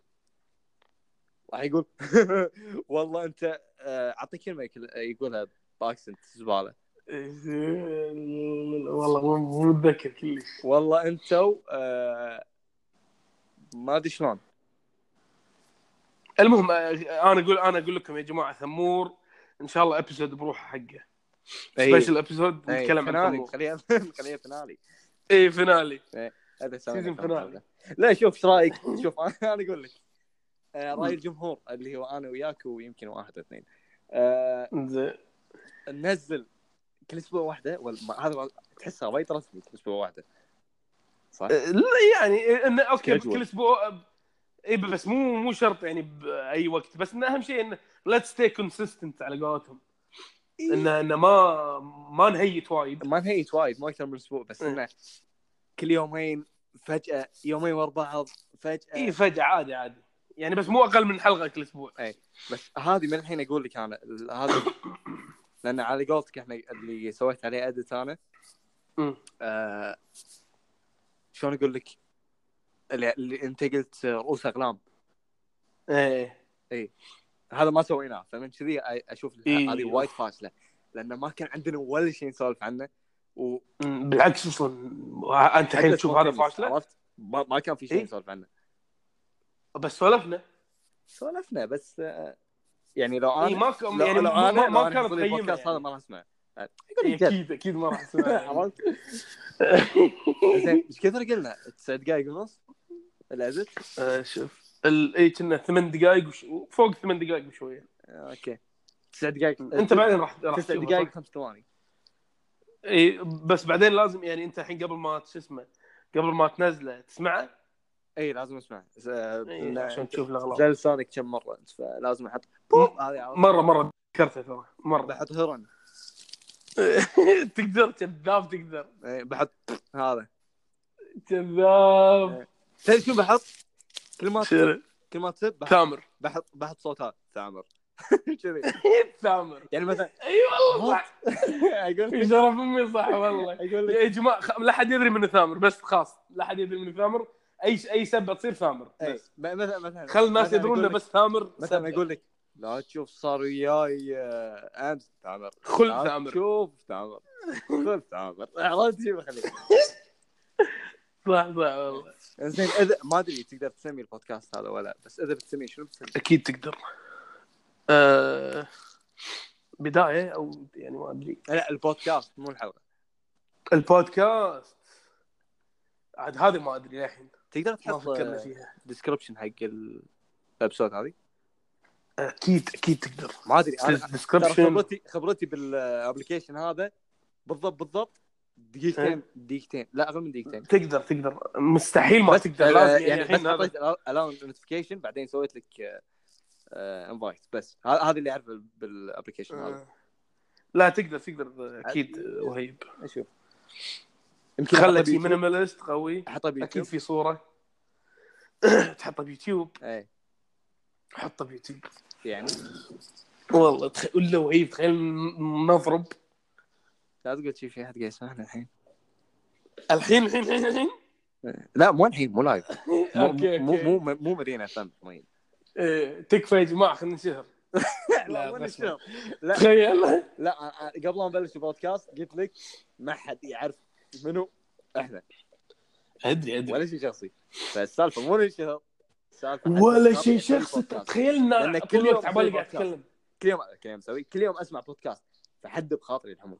[SPEAKER 2] راح يقول والله انت آه، اعطي كلمه يكل- يقولها باكسنت زباله
[SPEAKER 1] إيه، والله مو- مو متذكر كلش
[SPEAKER 2] والله انتو آه، ما ادري شلون
[SPEAKER 1] المهم آه، انا اقول انا اقول لكم يا جماعه ثمور ان شاء الله ابسود بروحه حقه سبيشل ابسود
[SPEAKER 2] إي،
[SPEAKER 1] نتكلم عن
[SPEAKER 2] فينالي
[SPEAKER 1] ثمور إيه،
[SPEAKER 2] خليها خليها فينالي
[SPEAKER 1] اي فينالي
[SPEAKER 2] هذا
[SPEAKER 1] سيزون فينالي.
[SPEAKER 2] لا شوف ايش رايك شوف انا أنا اقول لك آه، راي الجمهور اللي هو انا وياك ويمكن واحد أو اثنين آه،
[SPEAKER 1] زين
[SPEAKER 2] ننزل كل اسبوع واحده ولا ما- هذا تحسها وايد رسمي كل اسبوع واحده صح؟
[SPEAKER 1] لا يعني انه اوكي بس
[SPEAKER 2] Schedule.
[SPEAKER 1] كل اسبوع اي بس مو مو شرط يعني باي وقت بس انه اهم شيء انه لا تستي كونسيستنت على قولتهم
[SPEAKER 2] إيه.
[SPEAKER 1] انه انه ما ما نهيت وايد
[SPEAKER 2] ما نهيت وايد ما اكثر من اسبوع بس انه كل يومين فجاه يومين ورا بعض فجاه
[SPEAKER 1] اي فجاه عادي عادي يعني بس مو اقل من حلقه كل اسبوع
[SPEAKER 2] بس هذه من الحين اقول لك انا ال- هذا لان على قولتك احنا اللي سويت عليه ادت انا
[SPEAKER 1] أمم.
[SPEAKER 2] آه شلون اقول لك اللي, اللي انت قلت آه، رؤوس اقلام
[SPEAKER 1] ايه
[SPEAKER 2] هذا ما سويناه فمن كذي أ- اشوف
[SPEAKER 1] إيه.
[SPEAKER 2] هذه وايد فاشله لانه ما كان عندنا ولا شيء نسولف عنه و
[SPEAKER 1] أمم، بالعكس اصلا انت الحين تشوف هذا فاشله
[SPEAKER 2] عرفت ما, ما كان في شيء
[SPEAKER 1] إيه.
[SPEAKER 2] نسولف عنه
[SPEAKER 1] بس سولفنا
[SPEAKER 2] سولفنا بس آه، يعني لو انا
[SPEAKER 1] اي ما ك- يعني
[SPEAKER 2] لو
[SPEAKER 1] ما, ما,
[SPEAKER 2] لو
[SPEAKER 1] ما
[SPEAKER 2] أنا
[SPEAKER 1] كانت
[SPEAKER 2] حصل لي
[SPEAKER 1] قيمه
[SPEAKER 2] البودكاست هذا
[SPEAKER 1] يعني.
[SPEAKER 2] ما راح اسمعه
[SPEAKER 1] إي،
[SPEAKER 2] يقول لك
[SPEAKER 1] اكيد اكيد ما راح يعني. اسمعها
[SPEAKER 2] عرفت زين ايش كثر قلنا؟ تسع دقائق ونص العزت
[SPEAKER 1] آه، شوف ال- اي كنا ثمان دقائق وش... فوق ثمان دقائق وشويه
[SPEAKER 2] اوكي تسع آه، دقائق
[SPEAKER 1] انت بعدين راح راح
[SPEAKER 2] تسع
[SPEAKER 1] تشوفها،
[SPEAKER 2] دقائق
[SPEAKER 1] صح؟
[SPEAKER 2] خمس ثواني
[SPEAKER 1] اي بس بعدين لازم يعني انت الحين قبل ما شو اسمه قبل ما تنزله تسمعه
[SPEAKER 2] اي إيه، لازم اسمع س-
[SPEAKER 1] إي،
[SPEAKER 2] لا،
[SPEAKER 1] إيه، عشان تشوف الاغلاط
[SPEAKER 2] زل لسانك كم مره أنت، فلازم احط بوب هذه عرفت؟
[SPEAKER 1] مره مره ذكرته ترى مره
[SPEAKER 2] بحط هرن
[SPEAKER 1] تقدر كذاب تقدر
[SPEAKER 2] إي، إيه، بحط هذا
[SPEAKER 1] كذاب
[SPEAKER 2] تدري شو بحط؟ كل ما
[SPEAKER 1] شنو؟
[SPEAKER 2] كل ما تسب بحط-
[SPEAKER 1] تامر
[SPEAKER 2] بحط بحط صوتها ثامر كذي.
[SPEAKER 1] تامر
[SPEAKER 2] يعني مثلا
[SPEAKER 1] اي والله صح
[SPEAKER 2] اقول
[SPEAKER 1] يشرف امي صح والله
[SPEAKER 2] اقول لك
[SPEAKER 1] يا جماعه خ- لا حد يدري منه ثامر بس خاص لا حد يدري منه ثامر اي اي سبه تصير ثامر
[SPEAKER 2] إي،
[SPEAKER 1] إيه، بس
[SPEAKER 2] إيه، م- مثلا مثلا
[SPEAKER 1] خل الناس
[SPEAKER 2] مثلاً
[SPEAKER 1] يدرون
[SPEAKER 2] أقول
[SPEAKER 1] انه
[SPEAKER 2] لك-
[SPEAKER 1] بس ثامر
[SPEAKER 2] مثلا
[SPEAKER 1] سبة.
[SPEAKER 2] اقول لك لا تشوف صار وياي آه، امس تامر
[SPEAKER 1] خل
[SPEAKER 2] لا
[SPEAKER 1] ثامر
[SPEAKER 2] تشوف تامر خل تامر عرفت شو بخليك
[SPEAKER 1] صح صح والله
[SPEAKER 2] زين اذا ما ادري تقدر تسمي البودكاست هذا ولا بس اذا بتسميه شنو بتسمي؟
[SPEAKER 1] اكيد تقدر أه... بدايه او يعني ما ادري
[SPEAKER 2] لا البودكاست مو الحلقه
[SPEAKER 1] البودكاست عاد هذه ما ادري للحين
[SPEAKER 2] تقدر
[SPEAKER 1] ما
[SPEAKER 2] تحط
[SPEAKER 1] فكرنا فيها
[SPEAKER 2] ديسكربشن حق ال- الابسود هذه
[SPEAKER 1] اكيد اكيد تقدر يعني
[SPEAKER 2] ما ادري انا ترى
[SPEAKER 1] الديسكربشن
[SPEAKER 2] خبرتي خبرتي بالابلكيشن هذا بالضبط بالضبط دقيقتين
[SPEAKER 1] إيه.
[SPEAKER 2] دقيقتين لا اقل من دقيقتين
[SPEAKER 1] تقدر تقدر مستحيل ما
[SPEAKER 2] بس
[SPEAKER 1] تقدر لازم
[SPEAKER 2] يعني
[SPEAKER 1] يعني
[SPEAKER 2] بس
[SPEAKER 1] الحين هذا
[SPEAKER 2] حطيت الون نوتيفيكيشن بعدين سويت لك انفايت بس ه- هذا اللي اعرفه بالابلكيشن هذا
[SPEAKER 1] لا تقدر تقدر اكيد وهيب
[SPEAKER 2] اشوف يمكن
[SPEAKER 1] خلك
[SPEAKER 2] خلتي
[SPEAKER 1] شي
[SPEAKER 2] من
[SPEAKER 1] مينيماليست قوي
[SPEAKER 2] احطه بيوتيوب
[SPEAKER 1] اكيد في صوره تحطها بيوتيوب
[SPEAKER 2] اي
[SPEAKER 1] حطها بيوتيوب
[SPEAKER 2] إيه، يعني
[SPEAKER 1] والله تخ... ولا وهيب تخيل ن- نضرب
[SPEAKER 2] لا تقول شي في احد قاعد يسمعنا الحين
[SPEAKER 1] الحين الحين الحين الحين
[SPEAKER 2] لا مو الحين مو لايف مو
[SPEAKER 1] أوكي،
[SPEAKER 2] مو
[SPEAKER 1] أوكي.
[SPEAKER 2] مو مو- مو مدينه فم مين
[SPEAKER 1] إيه، تكفى يا جماعه خلينا نشهر
[SPEAKER 2] لا
[SPEAKER 1] لا،
[SPEAKER 2] وين
[SPEAKER 1] بس-
[SPEAKER 2] الشغل؟
[SPEAKER 1] تخيل
[SPEAKER 2] لا أنا- أنا قبل ما نبلش البودكاست قلت لك ما حد يعرف منو احنا
[SPEAKER 1] ادري ادري
[SPEAKER 2] ولا شيء شخصي فالسالفه مو للشهر السالفه حتى
[SPEAKER 1] ولا
[SPEAKER 2] الشهر
[SPEAKER 1] شيء
[SPEAKER 2] يسوي
[SPEAKER 1] شخصي
[SPEAKER 2] بودكاست.
[SPEAKER 1] تخيل ان
[SPEAKER 2] لأنك
[SPEAKER 1] كل
[SPEAKER 2] كل يوم
[SPEAKER 1] الوقت عبالي
[SPEAKER 2] تسوي
[SPEAKER 1] قاعد اتكلم
[SPEAKER 2] كل يوم كل يوم اسوي كل يوم اسمع بودكاست فحد بخاطري الحمد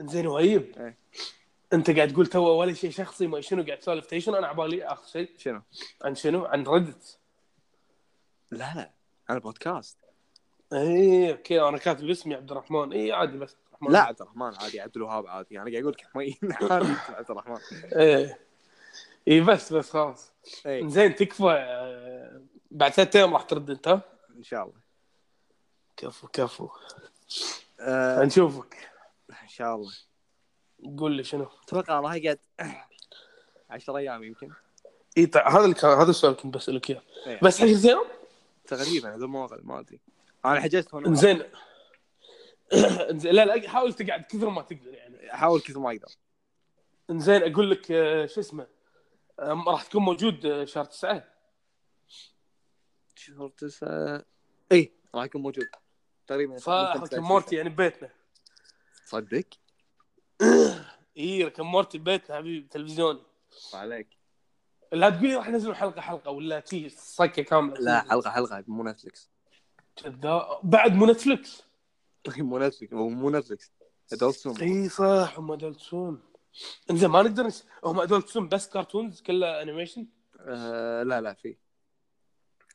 [SPEAKER 1] زين وهيب
[SPEAKER 2] إيه.
[SPEAKER 1] انت قاعد تقول تو ولا شيء شخصي ما شنو قاعد تسولف تيشن انا عبالي اخر شيء
[SPEAKER 2] شنو؟
[SPEAKER 1] عن شنو؟ عن ردت
[SPEAKER 2] لا لا انا بودكاست
[SPEAKER 1] اي اوكي انا إيه، كاتب اسمي عبد الرحمن اي عادي بس عبد الرحمن
[SPEAKER 2] لا عبد الرحمن عادي عبد الوهاب عادي انا قاعد اقول لك حمين عادي اسمه عبد الرحمن
[SPEAKER 1] ايه اي بس بس خلاص
[SPEAKER 2] اي
[SPEAKER 1] زين تكفى آه، بعد ثلاث ايام راح ترد انت ها؟
[SPEAKER 2] ان شاء الله
[SPEAKER 1] كفو كفو
[SPEAKER 2] آه،
[SPEAKER 1] نشوفك
[SPEAKER 2] ان شاء الله
[SPEAKER 1] قول لي شنو
[SPEAKER 2] اتوقع راح اقعد 10 ايام يمكن
[SPEAKER 1] اي طيب هذا اللي كان هذا السؤال كنت بسالك اياه
[SPEAKER 2] إيه.
[SPEAKER 1] بس 10 ايام
[SPEAKER 2] تقريبا هذا مو اقل ما ادري انا حجزت هون
[SPEAKER 1] زين زين لا لا حاول تقعد كثر ما تقدر يعني
[SPEAKER 2] احاول كثر ما اقدر
[SPEAKER 1] زين اقول لك آه، شو اسمه آم، راح تكون موجود آه، شهر تسعة
[SPEAKER 2] شهر تسعة اي راح إيه، يكون موجود تقريبا
[SPEAKER 1] فركم مورتي يعني ببيتنا
[SPEAKER 2] تصدق؟
[SPEAKER 1] اي ركم إيه، مورتي ببيتنا حبيبي تلفزيوني
[SPEAKER 2] عليك
[SPEAKER 1] لا تقول لي راح ننزل حلقه حلقه ولا شي صكه كامله
[SPEAKER 2] لا حلقة حلقة مو نتفلكس
[SPEAKER 1] كذا- بعد مو نتفلكس
[SPEAKER 2] طيب، مو نتفلكس هو مو نتفلكس ادولت سوم
[SPEAKER 1] اي صح هم ادولت سوم انزين ما نقدر نس... هم ادولت سوم بس كرتونز كلها انيميشن
[SPEAKER 2] آه لا لا في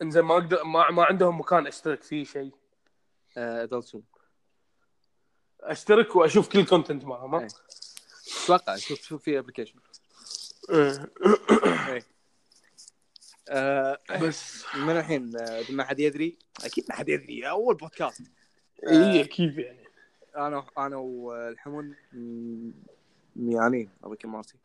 [SPEAKER 1] انزين ما اقدر ما, ما عندهم مكان اشترك فيه شيء
[SPEAKER 2] ادولت سوم
[SPEAKER 1] اشترك واشوف كل كونتنت معهم ها؟
[SPEAKER 2] إيه. اتوقع شوف شوف في ابلكيشن
[SPEAKER 1] إيه.
[SPEAKER 2] آه
[SPEAKER 1] بس
[SPEAKER 2] من الحين آه، ما حد يدري اكيد ما حد يدري اول بودكاست
[SPEAKER 1] اي اكيد يعني
[SPEAKER 2] انا انا والحمن م- يعني، ميانين ابوك مارتي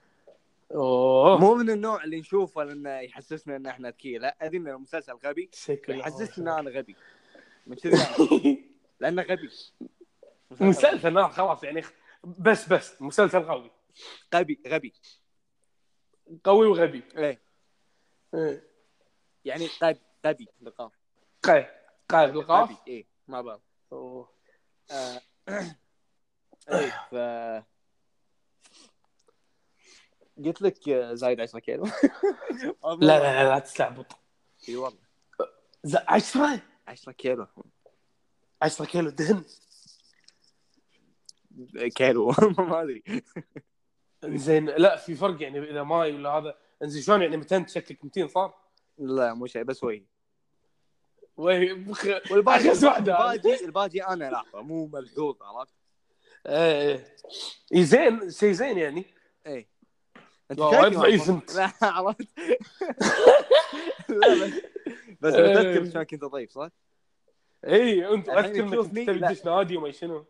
[SPEAKER 1] اوه
[SPEAKER 2] مو من النوع اللي نشوفه لانه يحسسنا ان احنا اذكياء لا ادري ان المسلسل غبي
[SPEAKER 1] شكله
[SPEAKER 2] يحسسني ان انا غبي من كذا لانه غبي
[SPEAKER 1] مسلسل نار خلاص يعني بس بس مسلسل قوي
[SPEAKER 2] غبي غبي
[SPEAKER 1] قوي وغبي
[SPEAKER 2] ايه
[SPEAKER 1] إيه.
[SPEAKER 2] يعني غبي غبي بالقاف
[SPEAKER 1] قاعد قاعد بالقاف
[SPEAKER 2] غبي ايه مع بعض
[SPEAKER 1] أوه.
[SPEAKER 2] آه. ايه ف قلت لك آه، زايد 10 كيلو
[SPEAKER 1] لا لا لا, لا تستعبط
[SPEAKER 2] اي والله
[SPEAKER 1] 10
[SPEAKER 2] 10 كيلو
[SPEAKER 1] 10 كيلو دهن
[SPEAKER 2] كيلو ما ادري
[SPEAKER 1] زين لا في فرق يعني اذا ماي ولا هذا انزين شلون يعني 200 شكلك 200 صار؟
[SPEAKER 2] لا مو شيء بس وجهي
[SPEAKER 1] وي بخ... أخس واحدة.
[SPEAKER 2] الباجي الباجي انا لاحظه مو ملحوظ عرفت؟
[SPEAKER 1] ايه إيه، زين شيء زين يعني
[SPEAKER 2] اي
[SPEAKER 1] لا، وايد ضعيف أنت.
[SPEAKER 2] لا عرفت؟ لا بس بس
[SPEAKER 1] إيه.
[SPEAKER 2] متذكر شلون كنت ضعيف صح؟
[SPEAKER 1] اي انت
[SPEAKER 2] الحين
[SPEAKER 1] اذكر انك
[SPEAKER 2] يشوفني،
[SPEAKER 1] تبي
[SPEAKER 2] لا.
[SPEAKER 1] تدش نادي وما شنو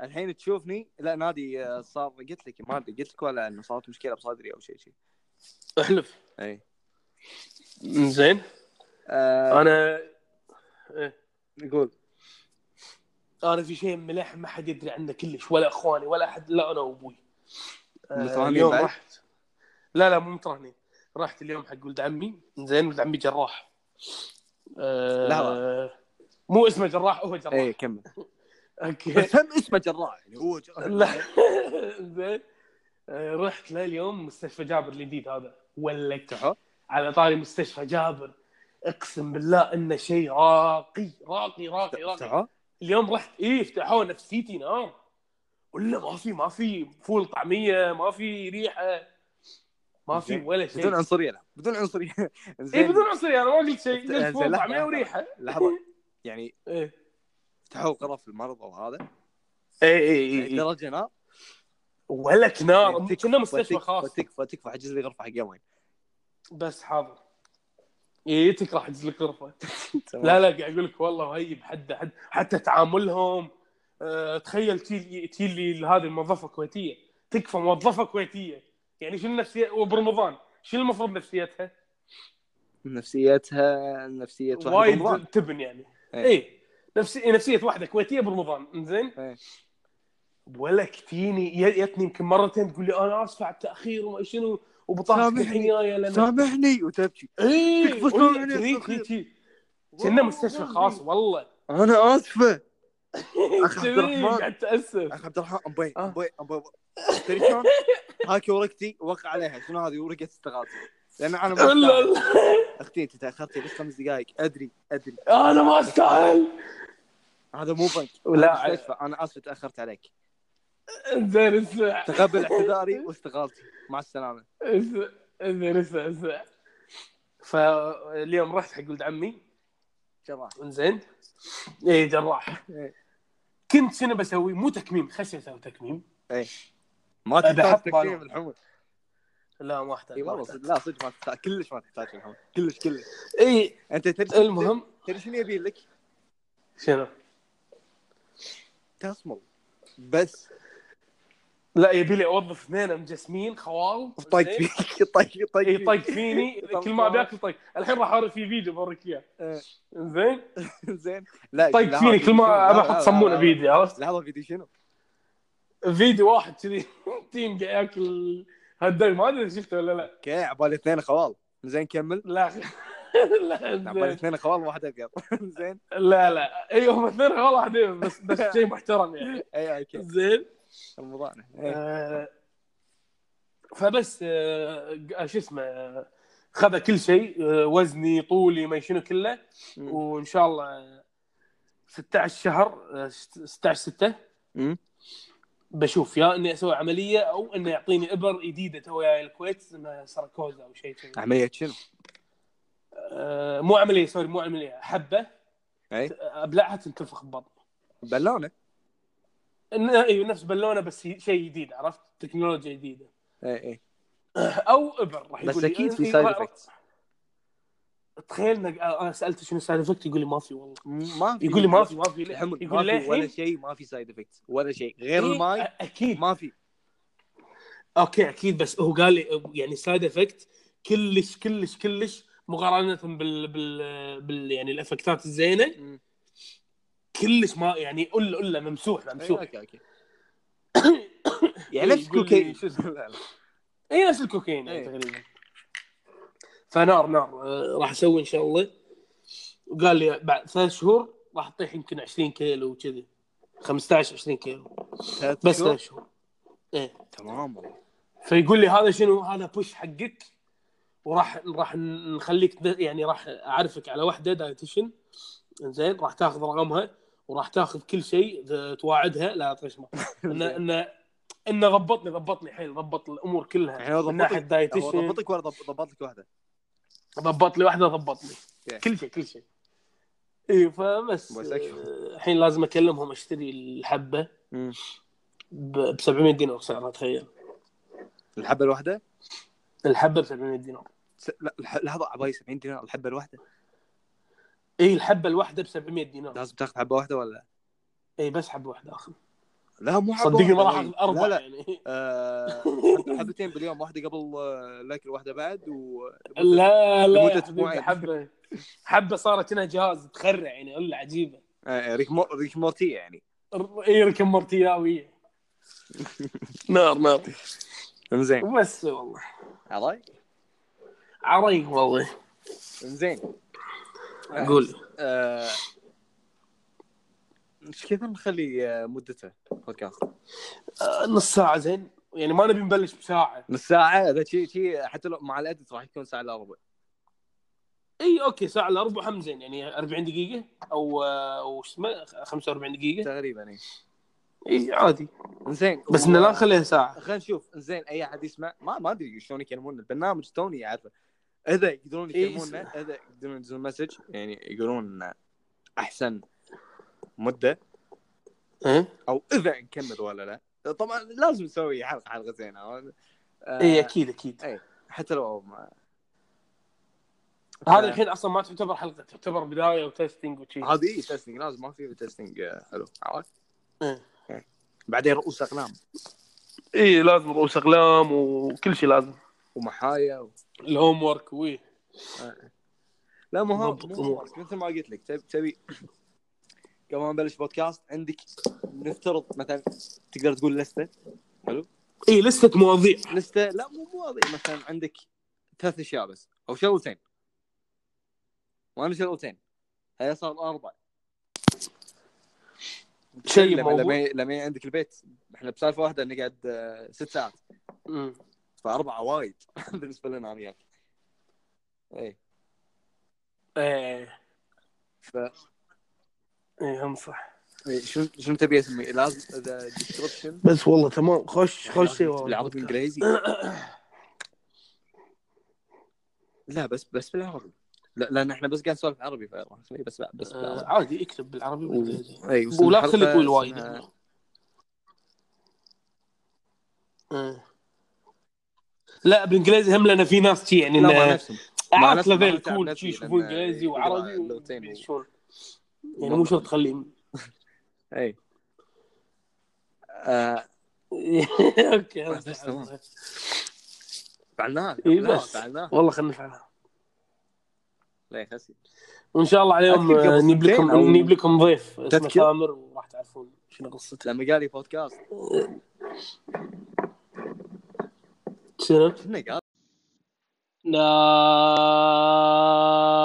[SPEAKER 2] الحين تشوفني لا نادي آه، صار قلت لك ما ادري قلت لك ولا انه صارت مشكله بصدري او شيء شيء
[SPEAKER 1] احلف
[SPEAKER 2] اي
[SPEAKER 1] زين
[SPEAKER 2] آه،
[SPEAKER 1] انا
[SPEAKER 2] قول
[SPEAKER 1] انا في شيء ملح ما حد يدري عنه كلش ولا اخواني ولا احد لا انا وابوي آه،
[SPEAKER 2] متراهنين
[SPEAKER 1] اليوم
[SPEAKER 2] بعد؟
[SPEAKER 1] رحت لا لا مو متراهنين رحت اليوم حق ولد عمي زين ولد عمي جراح آه مو اسمه جراح هو جراح
[SPEAKER 2] اي كمل
[SPEAKER 1] اوكي
[SPEAKER 2] بس هم اسمه جراح يعني هو جراح.
[SPEAKER 1] لا زين آه، رحت له اليوم مستشفى جابر الجديد هذا ولك
[SPEAKER 2] تحو؟
[SPEAKER 1] على طاري مستشفى جابر اقسم بالله انه شيء راقي راقي راقي راقي
[SPEAKER 2] تحو؟
[SPEAKER 1] اليوم رحت ايه افتحوه نفسيتي نار ولا نعم. ما في ما في فول طعميه ما في ريحه ما في
[SPEAKER 2] زين.
[SPEAKER 1] ولا شيء
[SPEAKER 2] بدون عنصريه لا بدون عنصريه
[SPEAKER 1] اي
[SPEAKER 2] زين
[SPEAKER 1] إيه. بدون عنصريه انا ما قلت شيء
[SPEAKER 2] زين،
[SPEAKER 1] قلت فول
[SPEAKER 2] لحظة،
[SPEAKER 1] طعميه
[SPEAKER 2] لحظة.
[SPEAKER 1] وريحه
[SPEAKER 2] لحظه يعني
[SPEAKER 1] ايه
[SPEAKER 2] فتحوا غرف المرضى وهذا
[SPEAKER 1] اي
[SPEAKER 2] إيه،
[SPEAKER 1] اي اي
[SPEAKER 2] درجه نار
[SPEAKER 1] إيه، ولا
[SPEAKER 2] إيه،
[SPEAKER 1] كنار
[SPEAKER 2] تكفى-
[SPEAKER 1] كنا آه، مستشفى
[SPEAKER 2] تكفى-
[SPEAKER 1] خاص
[SPEAKER 2] تكفى تكفى حجز لي غرفه حق يومين
[SPEAKER 1] بس حاضر اي تكره حجز الغرفه لا لا قاعد اقول لك والله وهي بحد حد حتى تعاملهم آه، تخيل تجي تجي لي هذه الموظفه كويتيه تكفى موظفه كويتيه يعني شنو النفسيه وبرمضان شنو المفروض نفسيتها؟
[SPEAKER 2] نفسيتها نفسيه واحد
[SPEAKER 1] وايد
[SPEAKER 2] برمضان.
[SPEAKER 1] تبن يعني
[SPEAKER 2] إيه.
[SPEAKER 1] اي نفسي نفسيه واحده كويتيه برمضان انزين
[SPEAKER 2] إيه.
[SPEAKER 1] ولا كتيني جتني يمكن مرتين تقول لي انا اسفه على التاخير وما شنو وبطاقتك الحين
[SPEAKER 2] سامحني.
[SPEAKER 1] جايه لان
[SPEAKER 2] سامحني وتبكي
[SPEAKER 1] اي
[SPEAKER 2] تكفى سامحني على التأخير.
[SPEAKER 1] كنا مستشفى خاص والله
[SPEAKER 2] انا اسفه أخ عبد
[SPEAKER 1] تبي
[SPEAKER 2] الرحمن.
[SPEAKER 1] قاعد تاسف
[SPEAKER 2] اخ عبد الرحمن ابي
[SPEAKER 1] آه.
[SPEAKER 2] ابي ابي تدري شلون؟ هاكي ورقتي وقع عليها شنو هذه ورقه استغاثه لان انا ما
[SPEAKER 1] لا
[SPEAKER 2] أستاهل.
[SPEAKER 1] لا
[SPEAKER 2] اختي انت تاخرتي بس خمس دقائق ادري ادري
[SPEAKER 1] انا ما استاهل
[SPEAKER 2] هذا مو بنك
[SPEAKER 1] ولا
[SPEAKER 2] هذا مستشفى انا اسف تاخرت عليك
[SPEAKER 1] انزين اسمع
[SPEAKER 2] تقبل اعتذاري واستغاثتي مع السلامه
[SPEAKER 1] اسمع انزين اسمع اسمع فاليوم رحت حق ولد عمي
[SPEAKER 2] شباب
[SPEAKER 1] انزين اي جراح
[SPEAKER 2] إيه.
[SPEAKER 1] كنت شنو بسوي مو تكميم خشي اسوي تكميم
[SPEAKER 2] ما
[SPEAKER 1] أبي
[SPEAKER 2] تحتاج
[SPEAKER 1] أحط
[SPEAKER 2] تكتيم
[SPEAKER 1] بالون.
[SPEAKER 2] الحمر
[SPEAKER 1] لا ما
[SPEAKER 2] اي
[SPEAKER 1] احتاج
[SPEAKER 2] إيه، والله صدق- لا صدق ما تحتاج كلش ما تحتاج الحمر كلش كلش
[SPEAKER 1] اي
[SPEAKER 2] انت تدري
[SPEAKER 1] إيه، المهم
[SPEAKER 2] تدري شنو يبي لك؟
[SPEAKER 1] شنو
[SPEAKER 2] تصمل بس
[SPEAKER 1] لا يبي لي اوظف اثنين مجسمين خوال
[SPEAKER 2] طايق
[SPEAKER 1] زين؟
[SPEAKER 2] فيك طايق فيك طايق
[SPEAKER 1] اي
[SPEAKER 2] فيك.
[SPEAKER 1] طق فيني
[SPEAKER 2] طب
[SPEAKER 1] كل ما
[SPEAKER 2] خلاص.
[SPEAKER 1] ابي اكل طق الحين راح اوري في فيديو بوريك اياه
[SPEAKER 2] إيه.
[SPEAKER 1] زين
[SPEAKER 2] زين لا
[SPEAKER 1] طق
[SPEAKER 2] لا،
[SPEAKER 1] فيني كل ما ابي
[SPEAKER 2] لا، لا،
[SPEAKER 1] احط صمونه
[SPEAKER 2] لا،
[SPEAKER 1] بيدي عرفت
[SPEAKER 2] لحظه فيديو شنو؟
[SPEAKER 1] فيديو واحد كذي تيم قاعد ياكل هالدق ما ادري إذا شفته ولا لا
[SPEAKER 2] اوكي عبالي اثنين خوال زين كمل
[SPEAKER 1] لا لا
[SPEAKER 2] عبالي
[SPEAKER 1] زين.
[SPEAKER 2] اثنين خوال واحد ابيض زين
[SPEAKER 1] لا لا أيوه، اي هم اثنين والله حديم إيه، بس بس شيء محترم يعني
[SPEAKER 2] اي اوكي
[SPEAKER 1] زين
[SPEAKER 2] رمضان إيه.
[SPEAKER 1] آه، فبس آه، شو اسمه آه، خذ كل شيء آه، وزني طولي ما شنو كله
[SPEAKER 2] مم.
[SPEAKER 1] وان شاء الله آه، 16 شهر آه، 16 6
[SPEAKER 2] مم.
[SPEAKER 1] بشوف يا اني اسوي عمليه او انه يعطيني ابر جديده تو جاي الكويت اسمها سركوزا او شيء كذي
[SPEAKER 2] عمليه شنو؟
[SPEAKER 1] آه، مو عمليه سوري مو عمليه حبه
[SPEAKER 2] أي.
[SPEAKER 1] ت- ابلعها تنتفخ ببطني
[SPEAKER 2] بلونه
[SPEAKER 1] إن- ايوه نفس بالونه بس ي- شيء جديد عرفت تكنولوجيا جديده
[SPEAKER 2] اي اي
[SPEAKER 1] او ابر راح
[SPEAKER 2] بس
[SPEAKER 1] يقول لي
[SPEAKER 2] اكيد في
[SPEAKER 1] إيه،
[SPEAKER 2] سايد
[SPEAKER 1] را-
[SPEAKER 2] افكت
[SPEAKER 1] تخيل إنك- انا سالته شنو سايد افكت يقول لي ما في والله
[SPEAKER 2] إيه، ما في
[SPEAKER 1] يقول لي ما في ما في ليه؟
[SPEAKER 2] الحمر ما
[SPEAKER 1] يقول
[SPEAKER 2] في
[SPEAKER 1] ليه إيه.
[SPEAKER 2] ولا
[SPEAKER 1] ولا
[SPEAKER 2] شيء ما في سايد افكت ولا شيء غير الماي
[SPEAKER 1] اكيد
[SPEAKER 2] ما في
[SPEAKER 1] اوكي اكيد بس هو قال لي يعني سايد افكت كلش كلش كلش مقارنه بال بال, بال يعني الافكتات الزينه
[SPEAKER 2] مم.
[SPEAKER 1] كلش ما يعني قله قله ممسوح
[SPEAKER 2] أي،
[SPEAKER 1] ممسوح
[SPEAKER 2] اوكي اوكي إيه، يعني نفس
[SPEAKER 1] يقول لي
[SPEAKER 2] كوكي
[SPEAKER 1] شو اي نفس الكوكين يعني
[SPEAKER 2] إيه.
[SPEAKER 1] تقريبا فنار نار آه، راح اسوي ان شاء الله وقال لي بعد ثلاث شهور راح تطيح يمكن 20 كيلو وكذي 15 20 كيلو بس
[SPEAKER 2] أيوة.
[SPEAKER 1] ثلاث شهور ايه
[SPEAKER 2] تمام والله
[SPEAKER 1] فيقول لي هذا شنو هذا بوش حقك وراح راح نخليك ت- يعني راح اعرفك على وحده دايتيشن زين راح تاخذ رقمها وراح تاخذ كل شيء ت- تواعدها لا طيش ما ان ان ان ضبطني ضبطني حيل ضبط الامور كلها
[SPEAKER 2] يعني هو
[SPEAKER 1] من
[SPEAKER 2] ضبطك-
[SPEAKER 1] ناحيه
[SPEAKER 2] هو
[SPEAKER 1] دايتيشن
[SPEAKER 2] ضبطك ولا ضب- ضبط لك واحده؟
[SPEAKER 1] ضبط لي واحده ضبطني
[SPEAKER 2] Yeah.
[SPEAKER 1] كل شيء كل شيء اي فبس
[SPEAKER 2] بس أكشن.
[SPEAKER 1] آه، الحين لازم اكلمهم اشتري الحبه ب 700 دينار سعرها تخيل
[SPEAKER 2] الحبه الواحده؟
[SPEAKER 1] الحبه ب 700 دينار
[SPEAKER 2] س- لا الح- لحظه عباي 70 دينار الحبه الواحده
[SPEAKER 1] اي الحبه الواحده ب 700 دينار
[SPEAKER 2] لازم تاخذ حبه واحده ولا؟
[SPEAKER 1] اي بس حبه واحده اخذ
[SPEAKER 2] لا مو حبه
[SPEAKER 1] صدقني ما راح
[SPEAKER 2] واحدة.
[SPEAKER 1] اخذ اربع
[SPEAKER 2] لا لا
[SPEAKER 1] يعني
[SPEAKER 2] آه، حب- حبتين باليوم واحده قبل آه، الاكل واحده بعد و
[SPEAKER 1] لا لا يا
[SPEAKER 2] لمدة
[SPEAKER 1] حبيبي،
[SPEAKER 2] أسبوعين.
[SPEAKER 1] حبه حبه صارت انها جهاز تخرع يعني قله عجيبه
[SPEAKER 2] آه، ريك مو- ريك مورتي يعني
[SPEAKER 1] ر- اي ركم مرتياويه نار نار
[SPEAKER 2] انزين
[SPEAKER 1] بس والله
[SPEAKER 2] عراي
[SPEAKER 1] عريق والله
[SPEAKER 2] انزين
[SPEAKER 1] قول
[SPEAKER 2] آه، ايش كثر نخلي آه، مدته بودكاست؟
[SPEAKER 1] آه، نص ساعه زين يعني ما نبي نبلش بساعه
[SPEAKER 2] نص ساعة اذا شي شي حتى لو مع الادت راح يكون ساعة الا ربع
[SPEAKER 1] اي اوكي ساعه الا ربع هم زين يعني 40 دقيقه او آه، او شو اسمه 45 دقيقه
[SPEAKER 2] تقريبا اي
[SPEAKER 1] اي عادي
[SPEAKER 2] زين
[SPEAKER 1] بس انه لا نخليها ساعه
[SPEAKER 2] خلينا نشوف زين اي احد يسمع ما ما ادري شلون يكلمون البرنامج توني اعرفه اذا يقدرون
[SPEAKER 1] إيه،
[SPEAKER 2] يكلمونا اذا يقدرون يدزون مسج يعني يقولون إن احسن مده
[SPEAKER 1] إيه؟
[SPEAKER 2] او اذا نكمل ولا لا طبعا لازم نسوي حلقه حلقه زينه آه،
[SPEAKER 1] إيه. اي اكيد اكيد
[SPEAKER 2] حتى لو ما
[SPEAKER 1] هذا الحين اصلا ما تعتبر حلقه تعتبر بدايه وتستنج وشي
[SPEAKER 2] هذه إيه تيستنج لازم ما في تيستنج آه، حلو عرفت؟
[SPEAKER 1] إيه.
[SPEAKER 2] إيه. بعدين رؤوس اقلام
[SPEAKER 1] اي لازم رؤوس اقلام وكل شيء لازم
[SPEAKER 2] ومحايا و...
[SPEAKER 1] الهوم ورك وي
[SPEAKER 2] لا مو هو-
[SPEAKER 1] بالضبط.
[SPEAKER 2] مو هو- مثل ما قلت لك تبي تبي قبل ما نبلش بودكاست عندك نفترض مثلا تقدر تقول لسته
[SPEAKER 1] اي لسته مواضيع
[SPEAKER 2] لسته لا مو مو واضح مثلا عندك ثلاث اشياء بس او شغلتين وانا شغلتين هي صار اربع
[SPEAKER 1] شيء
[SPEAKER 2] لما
[SPEAKER 1] موضوع
[SPEAKER 2] لما لما عندك البيت احنا بسالفه واحده نقعد آه، ست ساعات
[SPEAKER 1] مم.
[SPEAKER 2] فاربعه وايد بالنسبه لنا يعني. إيه، انا وياك اي
[SPEAKER 1] ايه
[SPEAKER 2] ف
[SPEAKER 1] ايه هم صح
[SPEAKER 2] إيه، شنو شنو تبي اسمي لازم اذا ديسكربشن
[SPEAKER 1] بس والله تمام خوش
[SPEAKER 2] بالعربي الانجليزي لا بس بس بالعربي لا لان احنا بس قاعد نسولف عربي فخليه بس بس بالعربي.
[SPEAKER 1] آه، عادي اكتب بالعربي والانجليزي
[SPEAKER 2] اي
[SPEAKER 1] ولا تخلي تقول وايد آه. لا بالانجليزي هم لان في ناس شي يعني
[SPEAKER 2] لا مع
[SPEAKER 1] إنه
[SPEAKER 2] نفسهم مع
[SPEAKER 1] اعرف
[SPEAKER 2] نفسي- مع
[SPEAKER 1] ليفل
[SPEAKER 2] نفسي عن
[SPEAKER 1] كول
[SPEAKER 2] نفسي
[SPEAKER 1] شي يشوفون
[SPEAKER 2] لأن
[SPEAKER 1] انجليزي
[SPEAKER 2] يقولوا
[SPEAKER 1] وعربي
[SPEAKER 2] اللغتين و-
[SPEAKER 1] ويشوفون. يعني مو شرط تخليهم
[SPEAKER 2] اي آه،
[SPEAKER 1] اوكي
[SPEAKER 2] آه، بس تمام. فعلناها
[SPEAKER 1] إي
[SPEAKER 2] فعلناها،
[SPEAKER 1] إيه، بس.
[SPEAKER 2] فعلناها
[SPEAKER 1] والله خلينا نفعلها
[SPEAKER 2] لا يا خسي
[SPEAKER 1] وان شاء الله عليهم
[SPEAKER 2] أكيد قبل
[SPEAKER 1] آه، نجيب لكم
[SPEAKER 2] سنتين أو-
[SPEAKER 1] نجيب لكم ضيف اسمه
[SPEAKER 2] تذكر؟
[SPEAKER 1] سامر وراح تعرفون شنو قصته
[SPEAKER 2] لما قال لي بودكاست
[SPEAKER 1] شنو؟
[SPEAKER 2] شنو قال؟
[SPEAKER 1] لا